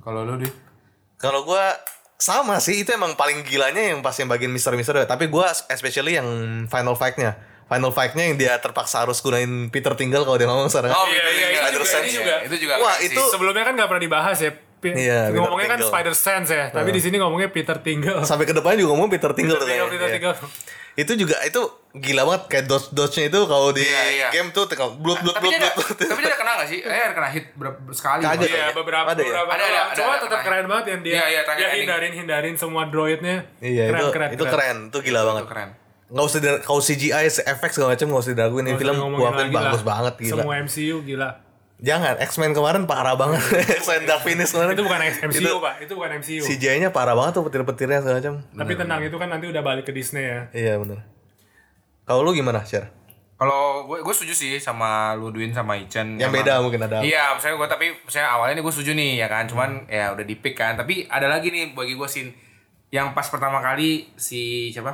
Kalau lu deh.
Kalau gua sama sih itu emang paling gilanya yang pas yang bagian misteri-misteri tapi gua especially yang final fight-nya final fight-nya yang dia terpaksa harus gunain Peter tinggal kalau dia ngomong sekarang
Oh,
Iya,
itu juga,
iya, itu
itu
juga,
juga,
ini
juga.
Itu juga
Wah,
keren sih.
itu-
Sebelumnya kan nggak pernah dibahas ya. Pi-
Iya, Peter
ngomongnya kan
Tingle.
Spider Sense ya, tapi di sini ngomongnya Peter Tingle.
sampai ke depannya juga ngomong Peter tinggal
Peter Tingle, Peter Tingle.
Iya. itu juga itu gila banget kayak dodge dodge-nya itu kalau di
Iya, iya.
game tuh tinggal blut blut
tapi
blut
dia ada,
blut
tapi dia ada kena gak sih? Eh, ada kena hit berapa sekali.
Kagak.
Iya.
Iya, beberapa
Ada ya?
beberapa.
Ada, ada,
doang.
ada,
Cuma
ada,
tetap
ada.
keren banget yang dia.
Iya, iya, tanya
dia
ending.
hindarin hindarin semua droidnya.
Iya
Keren,
itu
keren,
itu keren, itu gila banget.
Itu keren.
Nggak usah di- kalau CGI, efek segala macam nggak usah diraguin ini
Nggak usah
film
ngomongin
gua akuin
lagi lah.
bagus banget gila.
Semua MCU gila.
Jangan X-Men kemarin parah banget. X-Men Dark Phoenix kemarin.
Itu bukan MCU,
Itu
Pak. Itu bukan MCU.
CGI-nya parah banget tuh petir-petirnya segala macam.
Tapi tenang, itu kan nanti udah balik ke Disney ya.
Iya benar. Kalau lu gimana, Sher?
Kalau gue gue setuju sih sama Ludwin sama Ichen.
Yang
Emang-
beda mungkin ada. Hmm.
Iya, misalnya gue tapi misalnya awalnya ini gue setuju nih ya kan, cuman ya udah di pick kan. Tapi ada lagi nih bagi gue sin yang pas pertama kali si siapa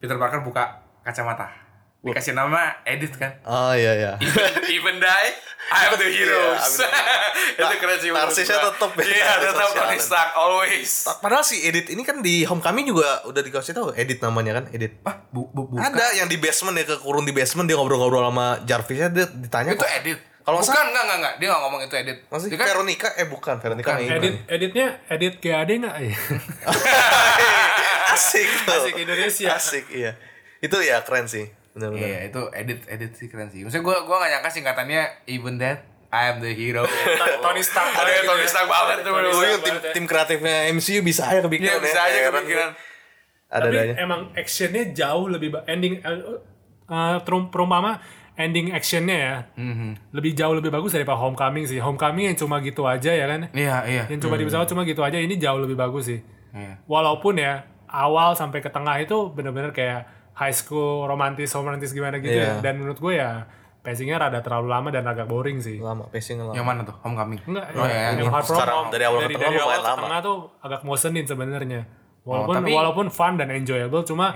Peter Parker buka kacamata dikasih nama edit kan.
Oh iya iya.
Even, even die, I'm the hero. Itu keren sih. menurut
Narsisnya
gua.
tetep ya, Ah,
Iya,
Tony
tetap
Stark.
Tony Stark always.
Padahal si Edit ini kan di Homecoming juga udah dikasih tahu Edit namanya kan, Edit.
Ah, bu, bu, bu.
Ada yang di basement dia kekurung di basement dia ngobrol-ngobrol sama Jarvisnya dia ditanya Iya,
Itu
kok.
edit.
Kalau
Kalau
nggak
bukan enggak enggak enggak, dia enggak ngomong itu edit.
Masih
Dia kan-
Veronica eh bukan Veronica
Bukan,
Ingrid.
Edit editnya edit GAD nggak ya?
asik tuh.
Asik Indonesia.
asik iya itu ya keren sih benar-benar
Iya, itu edit edit sih keren sih. Maksudnya gue gua gak nyangka singkatannya even that I am the hero.
Tony Stark.
Ada yang Tony Stark banget tuh.
Tony
menurut
Oh,
gua.
iya, tim, tim kreatifnya MCU bisa aja kepikiran
Iya, bisa aja
Heran
kepikiran.
gua. ada
Tapi
adanya
emang actionnya jauh lebih ba- ending eh, eh, terum- perumpama ending actionnya ya lebih jauh lebih bagus daripada Homecoming sih. Homecoming yang cuma gitu aja ya kan?
Iya, iya.
Yang cuma di pesawat cuma gitu aja. Ini jauh lebih bagus sih.
Iya.
Walaupun ya awal sampai ke tengah itu bener-bener kayak high school romantis romantis gimana gitu
Iya.
ya. Dan menurut gue ya pacingnya rada terlalu lama dan agak boring sih.
lama pacing lama
Yang mana tuh? Homecoming.
Enggak,
Oh, iya,
yang
iya.
hard from
Sekarang
home.
dari awal ke tengah
dari
lumayan
awal ke
lama.
tengah tuh agak mosenin sebenarnya. Walaupun
Oh, tapi- Iya.
walaupun fun dan enjoyable cuma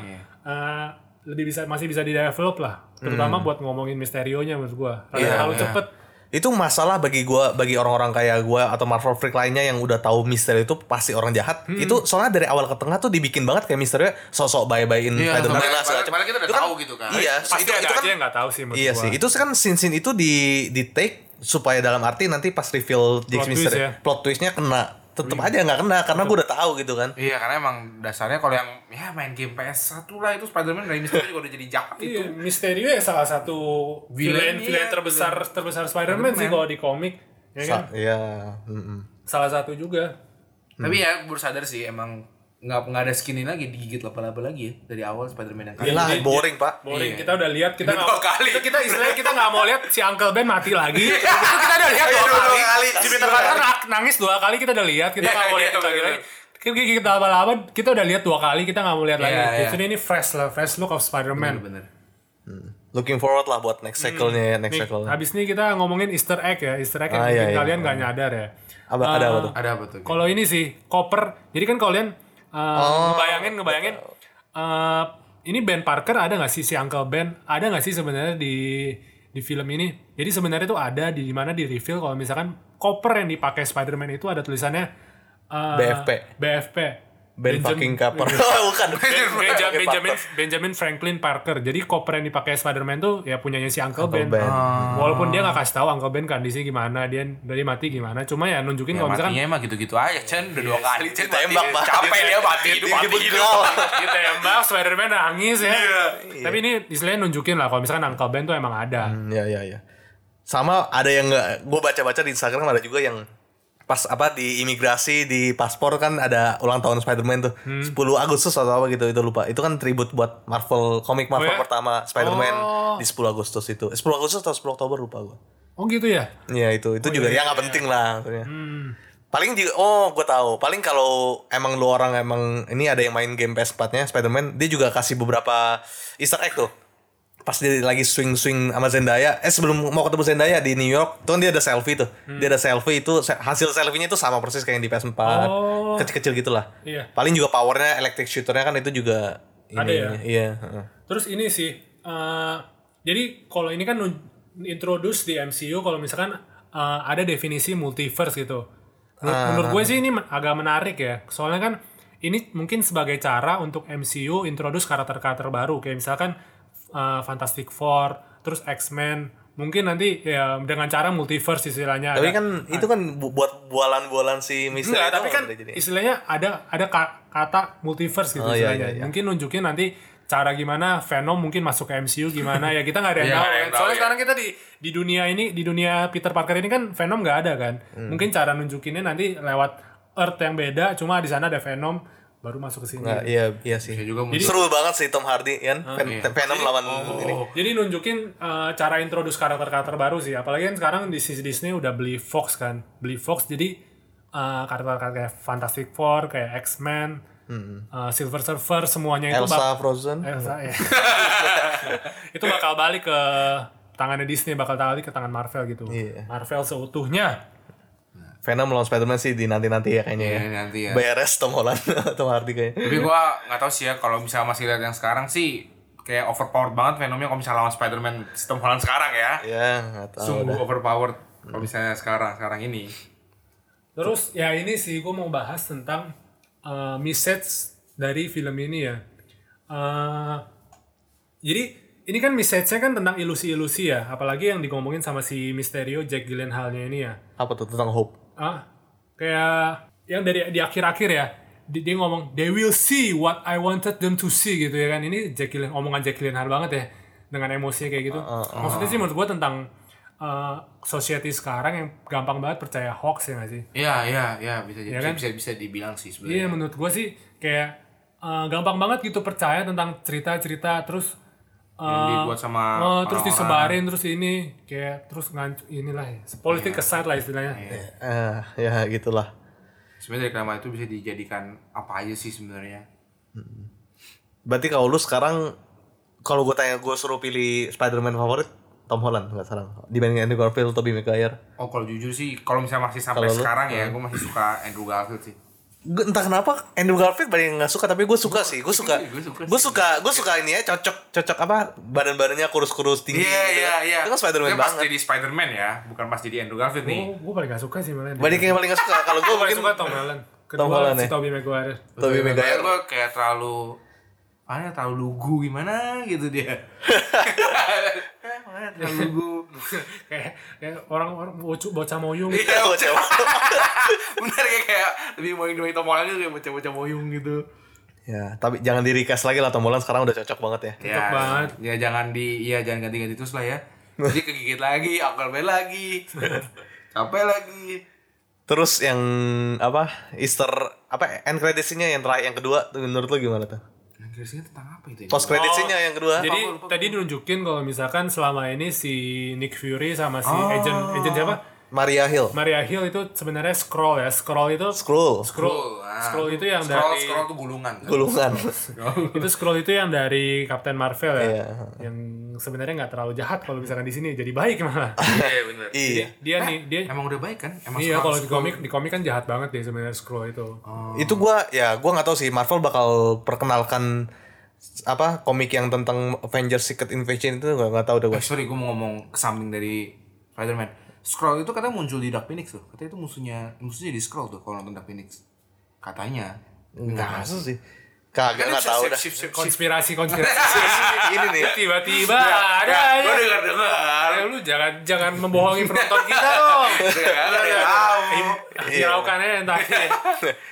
eh, lebih bisa masih bisa di develop lah, terutama buat ngomongin misterionya menurut gua.
Hmm.
Rada
Iya,
terlalu
iya.
cepet.
itu masalah bagi gua bagi orang-orang kayak gua atau Marvel freak lainnya yang udah tahu misteri itu pasti orang jahat
Hmm.
itu soalnya dari awal ke tengah tuh dibikin banget kayak misterinya sosok bye-byein
Iya,
Spider-Man
padahal-
lah segala macam.
padahal kita udah
Itu
tahu gitu kan.
iya
Pasti
itu,
ada
itu
aja
kan
yang nggak tahu sih menurut
Iya
gua.
sih, itu kan scene-scene itu di di take supaya dalam arti nanti pas reveal James
twist
Mister
ya. Oh iya.
plot twistnya kena. Tetep aja nggak kena karena gue udah tahu gitu kan.
Iya, karena emang dasarnya kalau yang ya main game PS1 lah itu Spider-Man dari Mystery juga udah jadi jahat itu.
Iya, Misterio ya salah satu
Villain,
villain villain
iya,
terbesar terbesar Spider-Man sih kalau di komik, ya kan?
Sa- Iya. mm-mm.
Salah satu juga.
Tapi ya gue baru sadar sih emang nggak nggak ada skinny lagi digigit laba-laba lagi ya dari awal Spider-Man yang kali.
Gila,
Iya, jadi-
boring, Pak.
Boring
Iya.
kita udah lihat kita
Udah
nggak
dua kali.
kita, kita istilahnya kita nggak mau lihat si Uncle Ben mati lagi. itu kita udah lihat
Iya,
dua
dua
kali.
kali.
Kita kan
Iya.
nak- nangis dua kali kita udah lihat kita
Iya,
nggak mau
iya,
lihat
bener,
lagi lagi.
bener.
Kita kita lama-lama kita udah lihat dua kali kita nggak mau lihat lagi.
Iya, iya.
Justru ini fresh lah, fresh look of
Hmm,
Spider-Man.
Bener.
Looking forward lah buat next cycle-nya, ya, next
Hmm. Nih,
cycle.
habis ini kita ngomongin Easter egg ya, Easter egg yang
Ah,
mungkin
iya, iya.
kalian nggak nyadar ya.
Apa ada apa tuh?
Ada apa tuh?
Kalau ini sih koper. Jadi kan kalian uh,
Oh.
ngebayangin ngebayangin uh, ini Ben Parker ada nggak sih si Uncle Ben? Ada nggak sih sebenarnya di di film ini? Jadi sebenarnya tuh ada di mana di reveal kalau misalkan koper yang dipakai Spider-Man itu ada tulisannya uh,
BFP.
BFP.
Ben
Benjam-
fucking Copper. Oh, bukan.
Iya. Ben- Benja- Benjamin Benjamin Franklin Parker. Jadi koper yang dipakai Spider-Man tuh ya punyanya si Uncle,
Uncle
Ben.
Ben.
Walaupun dia nggak kasih tahu Uncle Ben kondisi gimana, dia dari mati gimana. Cuma ya
Ya,
nunjukin kalau misalkan
matinya emang gitu-gitu aja, Chen. Udah dua kali, Chen. mati.
Ditembak, Pak.
Capek dia mati, hidup,
Dia
mati, hidup.
dibegal.
ditembak Gitu ya, Spider-Man nangis ya.
Iya.
Tapi ini istilahnya nunjukin lah kalau misalkan Uncle Ben tuh emang ada.
Hmm, ya ya ya. Sama ada yang nggak gue baca-baca di Instagram ada juga yang pas apa di imigrasi di paspor kan ada ulang tahun Spider-Man tuh.
Hmm.
10 Agustus atau apa gitu itu lupa. Itu kan tribute buat Marvel komik Marvel
Oh, ya?
pertama Spider-Man
Oh.
di 10 Agustus itu. Eh, 10 Agustus atau 10 Oktober lupa gue.
Oh gitu ya.
Iya itu itu juga ya nggak penting lah maksudnya.
Hmm.
Paling di oh gue tahu. Paling kalau emang lu orang emang ini ada yang main game PS4-nya Spider-Man, dia juga kasih beberapa Easter egg tuh. Pas dia lagi swing-swing sama Zendaya, eh sebelum mau ketemu Zendaya di New York, tuh kan dia ada selfie tuh.
Hmm.
Dia ada selfie itu se- hasil selfie-nya itu sama persis kayak yang di PS4.
Oh.
Kecil-kecil gitulah.
Iya.
Paling juga powernya electric shooter-nya kan itu juga ini.
Ada ya?
Iya, heeh.
Terus ini sih eh, jadi kalau ini kan nun- introduce di MCU kalau misalkan eh,
Ah.
ada definisi multiverse gitu. Menurut, menurut gue sih ini men- agak menarik ya. Soalnya kan ini mungkin sebagai cara untuk MCU introduce karakter-karakter baru kayak misalkan uh, Fantastic Four, terus X-Men, mungkin nanti ya dengan cara multiverse istilahnya.
Tapi
ada-
kan itu kan bu- buat bualan-bualan si Mister
Enggak,
itu
tapi kan
Oh, udah jadi.
istilahnya ada ada ka- kata multiverse gitu
Oh, iya,
istilahnya.
iya, iya.
Mungkin nunjukin nanti cara gimana Venom mungkin masuk ke MCU gimana ya kita nggak ada yang
Iya,
tahu.
nggak ada
kan.
yang tahu,
Soalnya
ya.
sekarang kita di di dunia ini di dunia Peter Parker ini kan Venom nggak ada kan. Mungkin cara nunjukinnya nanti lewat Earth yang beda cuma di sana ada Venom baru masuk ke sini.
Nah, iya iya sih.
Bisa juga mungkin. Ah, iya.
Seru banget sih Tom Hardy kan. Ven- Venom lawan
oh,
ini.
Jadi nunjukin eh, cara introduce karakter-karakter baru sih. Apalagi kan sekarang di sisi Disney udah beli Fox kan. Beli Fox jadi eh, karakter-karakter kayak Fantastic Four, kayak X-Men, eh, Silver Surfer, semuanya itu
Mm-hmm. Elsa
bak-
Frozen.
Eh.
Elsa, ya. itu bakal balik ke tangannya Disney, bakal balik ke tangan Marvel gitu.
Iya.
Marvel seutuhnya.
Venom lawan Spider-Man sih di nanti-nanti ya kayaknya ya.
Iya, nanti ya.
Beres Tom Holland Tom Hardy kayaknya.
Tapi gua nggak tahu sih ya kalau misalnya masih lihat yang sekarang sih kayak overpowered banget fenomena kalau misalnya lawan Spider-Man sistem Holland sekarang ya.
Ya, nggak tahu.
Sungguh overpowered kalau misalnya sekarang sekarang ini.
Terus ya ini sih gue mau bahas tentang uh, message dari film ini ya. Uh, jadi ini kan message-nya kan tentang ilusi-ilusi ya, apalagi yang digomongin sama si Misterio Jack Gyllenhaal-nya ini ya.
Apa tuh tentang Hope?
Ah, kayak yang dari di akhir-akhir ya, di- dia ngomong they will see what I wanted them to see gitu ya kan. Ini Jack Gyllen- omongan Jack Gyllenhaal banget ya dengan emosinya kayak gitu. Maksudnya sih menurut gue tentang uh, society sekarang yang gampang banget percaya hoax ya gak sih?
Iya, iya, iya bisa jadi
Iya kan?
bisa, bisa dibilang sih
Iya
sebenarnya.
menurut gue sih kayak eh, gampang banget gitu percaya tentang cerita-cerita terus eh,
Yang dibuat sama
eh, terus
orang-orang.
disebarin terus ini kayak terus ngancu inilah ya politik
Iya.
kesat lah istilahnya.
Eh, ya gitulah.
Sebenarnya reklama itu bisa dijadikan apa aja sih sebenarnya.
Berarti kalau lu sekarang kalau gue tanya gue suruh pilih Spider-Man favorit Tom Holland nggak sekarang dibanding Andrew Garfield Tobey Maguire.
Oh kalau jujur sih kalau misalnya masih sampai
Kalau lu- Hmm.
sekarang ya gue masih suka Andrew Garfield sih.
Gue entah kenapa Andrew Garfield banyak yang nggak suka tapi gue suka sih gue suka
Gua suka
gue suka gue suka ini ya cocok cocok apa badan badannya kurus kurus tinggi
Iya,
gitu
iya,
kan.
iya.
itu kan Spider-Man
Dia pas
banget
jadi Spider-Man ya, bukan pas jadi Andrew Garfield nih.
Gue gue paling gak suka sih malah.
banyak yang paling nggak suka kalau gue
Gue paling
mungkin
suka Tom Holland. Kedua
Tom Holland
si
ya?
Tobey Maguire.
Tobey Maguire
gue kayak terlalu mana terlalu lugu gimana gitu dia mana terlalu lugu
kayak kayak orang-orang bocah bocah moyung.
Iya, bocah.
bener kayak kayak lebih mau Indomie Tom Holland gitu kayak bocah-bocah moyung gitu
ya tapi jangan di recast lagi lah Tom Holland sekarang udah cocok banget ya
ya,
banget.
ya jangan di ya jangan ganti-ganti terus lah ya jadi kegigit lagi akal bel lagi capek lagi
terus yang apa Easter apa end creditsnya yang terakhir yang kedua tuh menurut lu gimana tuh
Inggrisnya Nah, tentang apa itu ya?
post creditsnya yang kedua
Jadi
Lupa, lupa,
tadi nunjukin kalau misalkan selama ini si Nick Fury sama si
Ah.
agent agent siapa?
Maria Hill
Maria Hill itu sebenarnya scroll ya. Scroll itu
Scroll
scroll
ah.
scroll itu yang
scroll
dari
scroll tuh gulungan kan?
gulungan
itu scroll itu yang dari Captain Marvel ya
Iya.
yang sebenarnya nggak terlalu jahat kalau misalkan di sini jadi baik malah
iya bener
iya
dia nih dia
emang udah baik kan emang
iya kalau
scroll-
di komik di komik kan jahat banget deh sebenarnya scroll itu
itu gua ya gua nggak tahu sih Marvel bakal perkenalkan apa komik yang tentang Avengers Secret Invasion itu gua nggak tahu deh gua
Eh, sorry gue mau ngomong something dari Spider-Man. Scroll itu katanya muncul di Dark Phoenix tuh. Katanya itu musuhnya musuhnya di Scroll tuh kalau nonton Dark Phoenix. Katanya.
nggak masuk sih kagak nggak tahu dah
konspirasi konspirasi
ini nih
tiba-tiba
Iya.
ada aja.
dengar dengar.
Eh, lu jangan jangan membohongi penonton kita dong
iya,
Iya.
hiraukan aja yang tadi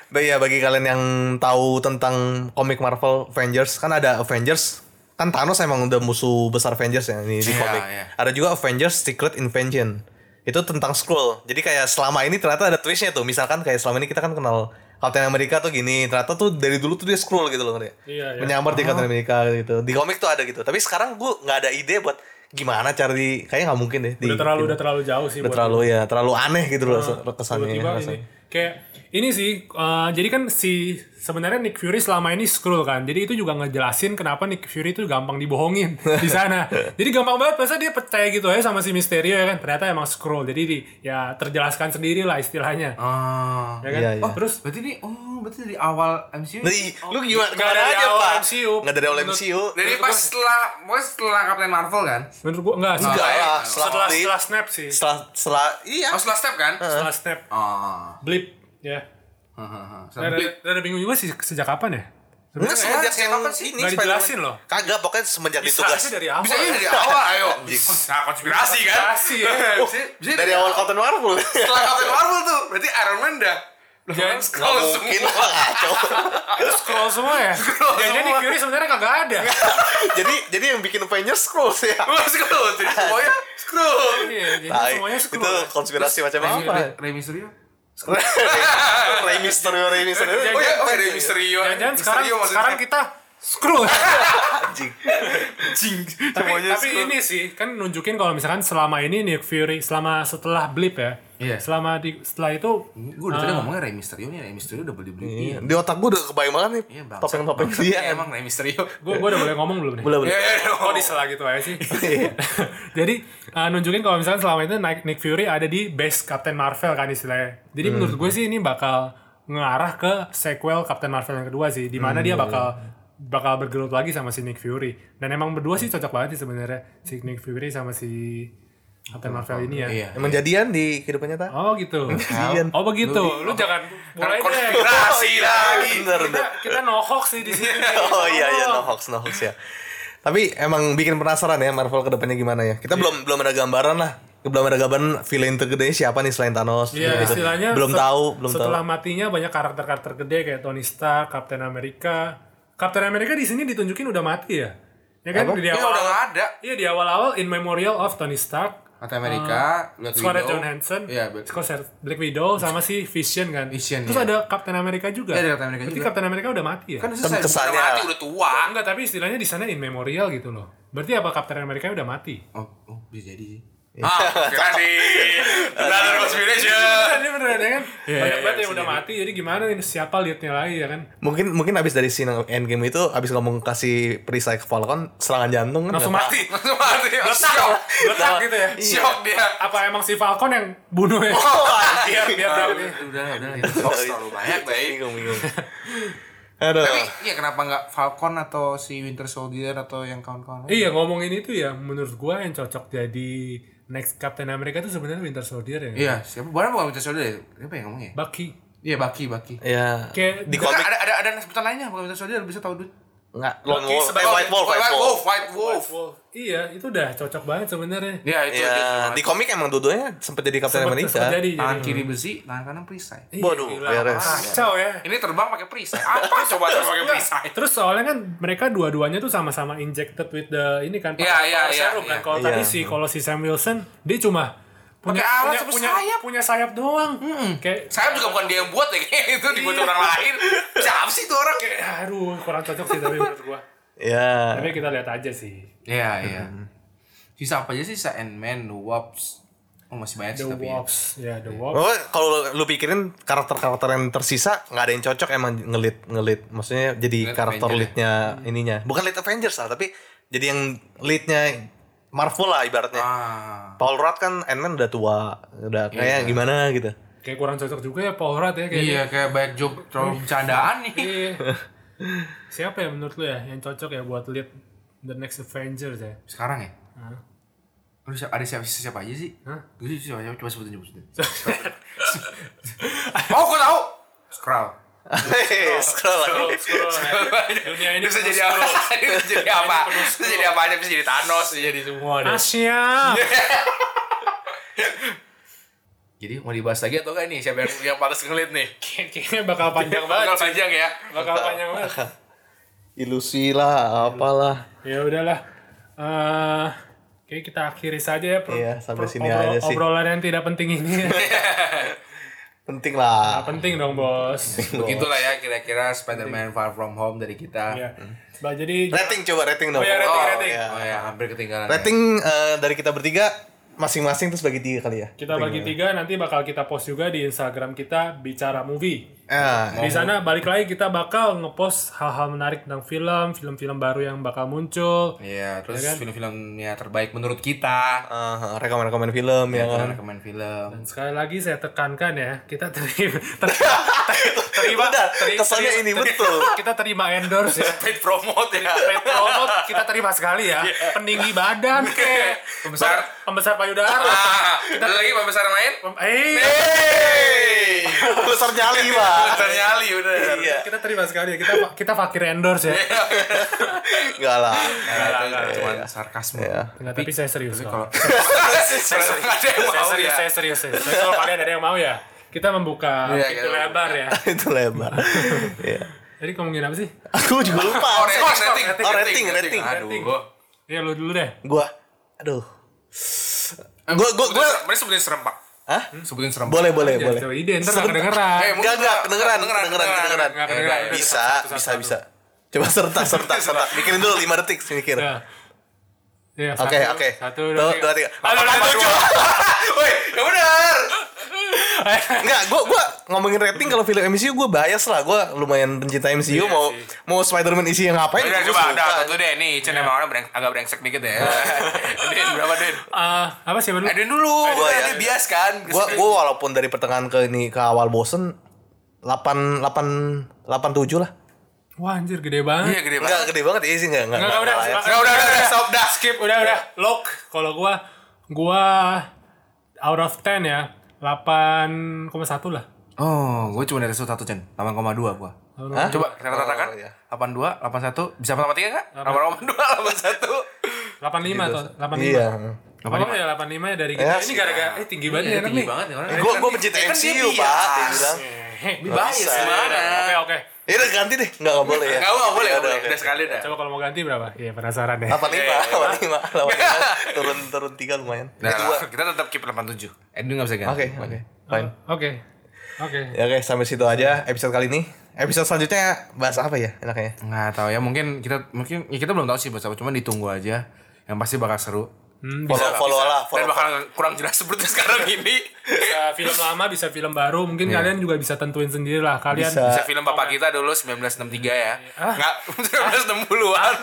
Nah, ya bagi kalian yang tahu tentang komik Marvel Avengers kan ada Avengers kan Thanos emang udah musuh besar Avengers ya ini di
Iya,
komik.
iya.
Ada juga Avengers Secret Invention. Itu tentang scroll. Jadi kayak selama ini ternyata ada twistnya tuh. Misalkan kayak selama ini kita kan kenal Captain America tuh gini. Ternyata tuh dari dulu tuh dia scroll gitu loh ngerti ya.
Iya, iya.
Menyamar di Captain America gitu. Di komik tuh ada gitu. Tapi sekarang gue nggak ada ide buat gimana cari kayaknya nggak mungkin deh. di-
udah terlalu
di-
udah terlalu jauh sih
udah
buat Ah,
terlalu ya terlalu aneh gitu loh kesannya.
tiba-tiba ini
rasanya.
kayak ini sih eh, jadi kan si sebenarnya Nick Fury selama ini scroll kan jadi itu juga ngejelasin kenapa Nick Fury itu gampang dibohongin di sana jadi gampang banget masa dia percaya gitu ya sama si Misterio ya kan ternyata emang scroll jadi di, ya terjelaskan sendiri lah istilahnya
Ah.
ya kan
Iya, iya.
Oh, terus
Berarti ini oh berarti dari awal MCU.
Dari, lu gimana?
nggak dari
aja,
awal
Pak.
MCU.
Nggak dari awal
Menurut-
MCU.
Dari pas setelah pokoknya setelah Captain Marvel kan.
menurut gua enggak
Enggak
setelah,
lah,
setelah
setelah
setelah Oh, snap sih
setelah setelah iya.
Oh setelah step kan?
setelah snap
Ah.
blip ya Rada, rada bingung juga sih sejak kapan ya?
Enggak semenjak yang kapan sih ini
Nggak
Spider-Man?
dijelasin loh.
Kagak pokoknya semenjak ditugas.
Bisa dari awal.
Bisa ini dari awal ayo.
Anjing.
Nah, konspirasi kan?
Konspirasi, ya.
Bisa, bisa
Dari awal Captain Marvel.
setelah Captain Marvel tuh, berarti Iron Man dah.
Jangan-
Nggak
scroll
mungkin lah kacau.
Itu scroll semua ya. Jadi jadi Fury sebenarnya kagak ada.
jadi jadi yang bikin Avengers Scrolls ya.
Wah, scroll. Jadi semuanya scroll.
Iya, jadi
Tai.
semuanya
itu
scroll.
konspirasi macam apa?
Iya, Rey Mysterio?
Rey Mysterio, Rey Mysterio.
Iya,
Oh ya, oh
Jangan-
ada Misterio.
Jangan-jangan sekarang
Misterio maksudnya.
sekarang kita scroll.
Anjing.
Jing.
tapi
Semuanya
tapi
scroll.
ini sih kan nunjukin kalau misalkan selama ini Nick Fury selama setelah blip ya.
Iya.
Selama di setelah itu
Gue udah tadi ngomongnya Rey Mysterio nih, Rey Mysterio udah beli beli.
Iya, Di otak gue udah kebayang banget nih
Iya, bangsa.
topeng-topeng
Bangsa.
dia.
Iya, emang Rey Mysterio. Oh,
gue gue udah boleh ngomong belum nih?
Boleh, boleh.
Ya, ya, ya.
Kok disela gitu aja sih? Jadi uh, nunjukin kalau misalkan selama itu Nick, Nick Fury ada di base Captain Marvel kan istilahnya. Jadi menurut gue sih ini bakal ngarah ke sequel Captain Marvel yang kedua sih, di mana dia bakal bakal bergelut lagi sama si Nick Fury. Dan emang berdua sih cocok banget sih sebenarnya si Nick Fury sama si Captain Marvel ini ya.
Iya.
Emang jadian di kehidupan nyata?
Oh gitu.
Jadian.
Oh begitu. Lu jangan mulai deh.
Konspirasi lagi.
Bener, bener.
Kita, kita no hoax sih di sini.
Oh iya iya no hoax no hoax ya. Tapi emang bikin penasaran ya Marvel kedepannya gimana ya. Kita belum belum ada gambaran lah. Belum ada gambaran villain tergedenya siapa nih selain Thanos.
Iya,
gitu.
istilahnya
Belum
set-
tahu belum tahu.
setelah matinya banyak karakter-karakter gede kayak Tony Stark, Captain America. Captain America di sini ditunjukin udah mati ya. Ya kan
Iya,
di
Ya udah
awal.
nggak ada.
Iya di awal-awal in memorial of Tony Stark,
Kata Amerika, Black
Scarlett
Widow.
Johansson,
Iya, Black-
Scarlett- Black Widow sama si Vision kan.
Vision,
Terus
iya.
ada Captain America juga.
Iya, ada Captain America
Berarti
juga.
Captain America udah mati ya? Ah,
kan
Tem-
selesai.
kesannya-
Udah mati, udah tua.
Enggak, tapi istilahnya di sana in memorial gitu loh. Berarti apa Captain America udah mati?
Oh, oh, bisa jadi sih.
Ah, konspirasi. Another conspiration.
Ini beneran ya kan?
Iya,
Banyak banget yang udah mati, jadi gimana ini siapa liatnya lagi ya kan?
Mungkin mungkin abis dari scene endgame itu abis ngomong kasih perisai ke Falcon serangan jantung kan
Langsung
nggak
mati.
Langsung mati.
Letak,
Shock.
letak gitu ya.
Iya.
Iya. Shock dia. Nah, Oh, iya.
Apa emang si Falcon yang bunuh ya?
tahu. Wah,
biar biar tahu nih.
Udah lah, udah Iya, lah. itu.
Hoax terlalu banyak, Bay.
bingung bingung. Aduh.
Tapi
Iya, kenapa nggak Falcon atau si Winter Soldier atau yang kawan-kawan?
Iya ngomongin itu ya, menurut gua yang cocok jadi next Captain America itu sebenarnya Winter Soldier ya.
Iya, siapa? Bukan bukan Winter Soldier. ya? Siapa yang ngomongnya?
Bucky.
Iya, Baki, Baki.
Kan
ya
Kayak-
di
Ada
komik
ada ada, ada sebutan lainnya bukan Winter Soldier bisa tahu duit.
nggak Lone
Loki
Wolf, eh,
sebagai-
White Wolf, White Wolf.
White Wolf.
Iya, itu udah cocok banget sebenarnya.
Iya,
Ya itu.
Ya, di komik emang dudunya sempet jadi Captain America.
Sempat Jadi,
Tangan
jadi.
kiri besi, tangan kanan perisai.
Iya,
Waduh,
gila,
beres.
Kacau ya.
Iya. Ini terbang pakai perisai. Apa coba terbang pakai perisai?
Terus soalnya kan mereka dua-duanya tuh sama-sama injected with the ini kan
Iya, iya, iya,
serum kan.
iya.
Kalau tadi
Iya.
sih kalau si Sam Wilson dia cuma punya
Pakai alat
punya,
sama
punya,
sayap.
punya sayap doang. Kayak
Saya juga bukan dia yang buat ya kayak itu
Iya.
dibuat orang lain. Siapa sih itu orang?
aduh kurang cocok sih tapi menurut gua.
Ya.
Tapi kita lihat aja sih.
Iya, iya. Sisa apa aja sih? Sisa Ant-Man, The Wasp. Oh, masih banyak
The
sih tapi. ya.
Wasps, ya The Wasps.
Oh, kalau lu pikirin karakter-karakter yang tersisa nggak ada yang cocok emang ngelit ngelit. Maksudnya jadi
Lead
karakter
Avenger
leadnya ininya. Bukan lead Avengers lah, tapi jadi yang leadnya Marvel lah ibaratnya.
Ah.
Paul Rudd kan Ant-Man udah tua, udah kayak gimana gitu.
Kayak kurang cocok juga ya Paul Rudd ya kayak
Iya, kayak banyak joke terlalu bercandaan nih.
Iya. Siapa ya menurut lu ya yang cocok ya buat lead The Next Avengers ya?
Sekarang ya?
Hah?
Lu siapa, ada siapa, sisa siapa aja sih?
Hah?
Gue sih siapa, siapa, coba sebutin, coba sebutin.
Oh, gua tahu.
Skrull.
Scroll lagi.
Dunia ini
Bisa jadi apa? Bisa jadi apa? Bisa jadi apa aja? Bisa jadi Thanos, bisa jadi semua. deh.
Asia.
Iya.
Jadi mau dibahas lagi atau enggak nih? Siapa yang yang pantas ngelit nih?
Kayaknya bakal panjang banget.
Bakal panjang ya.
Bakal panjang banget.
Ilusi lah, apalah.
Ya udahlah. Eh kayak kita akhiri saja ya per-
Iya, sampai
per-
sini
obrol-
aja sih.
Obrolan yang tidak penting ini.
Penting
Nah,
lah.
penting dong, Bos.
Begitulah ya kira-kira Spider-Man Far From Home dari kita.
Iya. Bah, jadi
Rating coba rating dong.
Oh, iya, rating,
Oh,
rating.
iya.
Oh ya, hampir ketinggalan. ya.
Rating eh, dari kita bertiga masing-masing terus bagi tiga kali ya.
kita bagi tiga nanti bakal kita post juga di Instagram kita bicara movie.
Ah,
Di sana balik lagi kita bakal ngepost hal-hal menarik tentang film, film-film baru yang bakal muncul.
Iya,
Ya
terus
kan?
film-filmnya terbaik menurut kita.
eh, rekomen-rekomen film ya kan.
Kita rekomen film.
Dan sekali lagi saya tekankan ya, kita terima ter-
terima
terima-
kesannya ini
terima-
betul
kita terima endorse ya.
Paid promote ya.
Paid promote kita terima sekali ya.
Iya.
Peninggi badan ke
Pembesar.
Ah.
pembesar payudara. eh.
Iya.
Ah, ada lagi pembesar lain?
Pem- eh,
Hey!
sponsor nyali pak
Bentar nyali udah.
iya
Kita terima sekali ya. Kita kita fakir endorse ya.
enggak lah
Nah, itu Cuman sarkasme.
Iya.
Enggak, tapi saya serius. kok.
Kalau nggak ada yang
saya
mau
serius,
ya.
saya serius. saya serius. Tapi kalau kalian ada yang mau ya, kita membuka
Iya,
pintu
kita-
lebar ya.
itu lebar Iya.
Jadi ngomongin apa sih?
aku juga lupa
Oh, rating, rating,
Oh, rating, rating.
Aduh,
Rating.
gua.
Ya lu dulu deh.
gua aduh gua gua gua
Gua sebenarnya sebutin serem, Pak.
Hah?
Sebutin serem.
boleh boleh
Jangan
boleh
jauh Iya, ide, ntar gak kedengeran. Iya.
Eh,
Enggak, enggak, kedengeran,
Kedengeran,
kedengeran, kedengeran.
kedengeran,
Iya,
kedengeran. Udah,
Bisa,
satu, satu,
bisa,
satu.
bisa. Coba serta, serta, serta. Mikirin dulu 5 detik, mikir.
Ya. Ya,
Oke,
satu,
oke.
Satu,
Dua, dua, tiga.
Aduh,
Apa
aduh,
tujuh? Woi, ya benar.
Enggak, gua gua ngomongin rating kalau film MCU gua bias lah. Gua lumayan pencinta MCU mau mau Spider-Man isi yang ngapain? gua
Udah Iya, coba
suka.
udah satu deh nih, Cen emang orang breng- agak brengsek dikit ya. Din berapa Din?
Eh, apa sih dulu?
Eh, Din dulu.
Gua ya.
Dia bias kan.
Gua gua walaupun dari pertengahan ke ini ke awal bosen 8 8 87 lah.
Wah anjir gede banget.
Iya gede banget.
Enggak gede banget iya sih enggak enggak.
Enggak, udah,
enggak,
Udah, udah, udah, stop dah.
Skip, udah, udah. Lock. Kalau gua gua out of 10 ya. 8,1 lah.
Oh, gue cuma dari satu satu Cen, 8,2 gua.
Hah?
Coba kita
Oh,
ratakan.
iya.
82, 81, bisa sama tiga enggak? 8,2, 81.
85 atau 85.
Iya.
Kalau ya 85 ya dari kita.
Ya,
ini
sih.
gara-gara eh tinggi banget ya
Tinggi
nih.
banget ya orang.
Eh, Gua gua pencinta
Kan dia
MCU,
bias.
Pak. Dia bilang.
Bias
Bisa.
gimana?
Oke, oke.
Ya udah ganti deh, enggak enggak boleh ya.
Enggak mau, boleh,
Ya,
boleh.
oke.
Udah sekali dah.
Coba kalau mau ganti berapa? Iya, penasaran deh.
85,
Iya, iya,
85, 85. Turun turun 3 lumayan.
Nah, Oh.
Kedua.
kita tetap keep 87. Edu enggak bisa ganti.
Oke, oke. Fine.
Oke. Oke.
Ya, Oke, sampai situ aja episode kali ini. Episode selanjutnya bahas apa ya enaknya?
Nggak tahu ya, mungkin kita mungkin ya kita belum tahu sih bahasa apa, cuman ditunggu aja. Yang pasti bakal seru.
Hmm,
Iya.
bisa,
Oh, Follow follow lah,
Dan
follow.
bakal kurang jelas seperti sekarang ini.
bisa film lama, bisa film baru. Mungkin kalian juga bisa tentuin sendiri lah. Kalian
Bisa.
Iya. Bisa film bapak kita dulu 1963 ya.
Ah.
Enggak, 1960-an.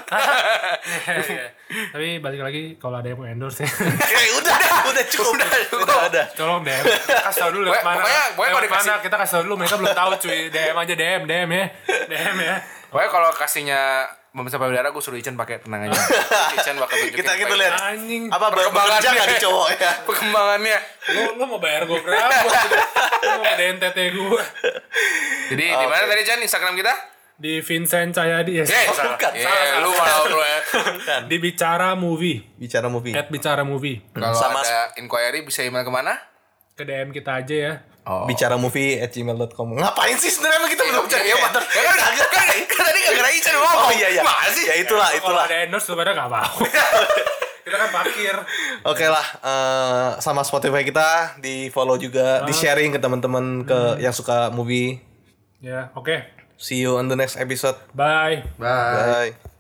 Iya. Tapi balik lagi kalau ada yang mau endorse ya.
Eh, udah, udah cukup. Udah, udah. udah.
Tolong DM. Kasih tau dulu lewat
Pokoknya-
mana.
pokoknya kalau
lewat
dikasih-
mana kita kasih tau dulu mereka belum tahu cuy. DM aja DM, DM ya. DM ya.
Pokoknya kalau kasihnya pemirsa payudara gue suruh Ichen pakai tenang aja. Ichen bakal tunjukin
Kita kita
pakai-
lihat.
Anjing.
Apa baru
Perkembangan
bekerja nggak
dia.
di cowok ya?
perkembangannya.
Lu, lu mau bayar gue berapa? lu mau ada NTT gue.
Jadi di mana tadi Chan Instagram kita?
Di Vincent Cahyadi. Ya,
Eh, salah.
bukan,
Eh,
Iya, salah,
lu mau lu ya.
Di Bicara Movie.
Bicara movie.
At Bicara Movie.
Kalau
Sama-
ada inquiry bisa email kemana?
Ke DM kita aja ya.
Oh.
Bicara movie at gmail.com Ngapain sih sebenarnya emang kita belum cari ya Pak?
Ya Iya, kan, kan, kan tadi gak kira Ichen ngomong.
Oh iya iya
Masih.
Ya itulah
Kalau
itulah
ada endorse sebenarnya gak mau. kita kan parkir.
Oke lah eh, Sama Spotify kita Di follow juga Di
Ah.
sharing ke teman-teman ke
Hmm.
Yang suka movie
Ya, oke.
See you on the next episode
Bye.
Bye.
Bye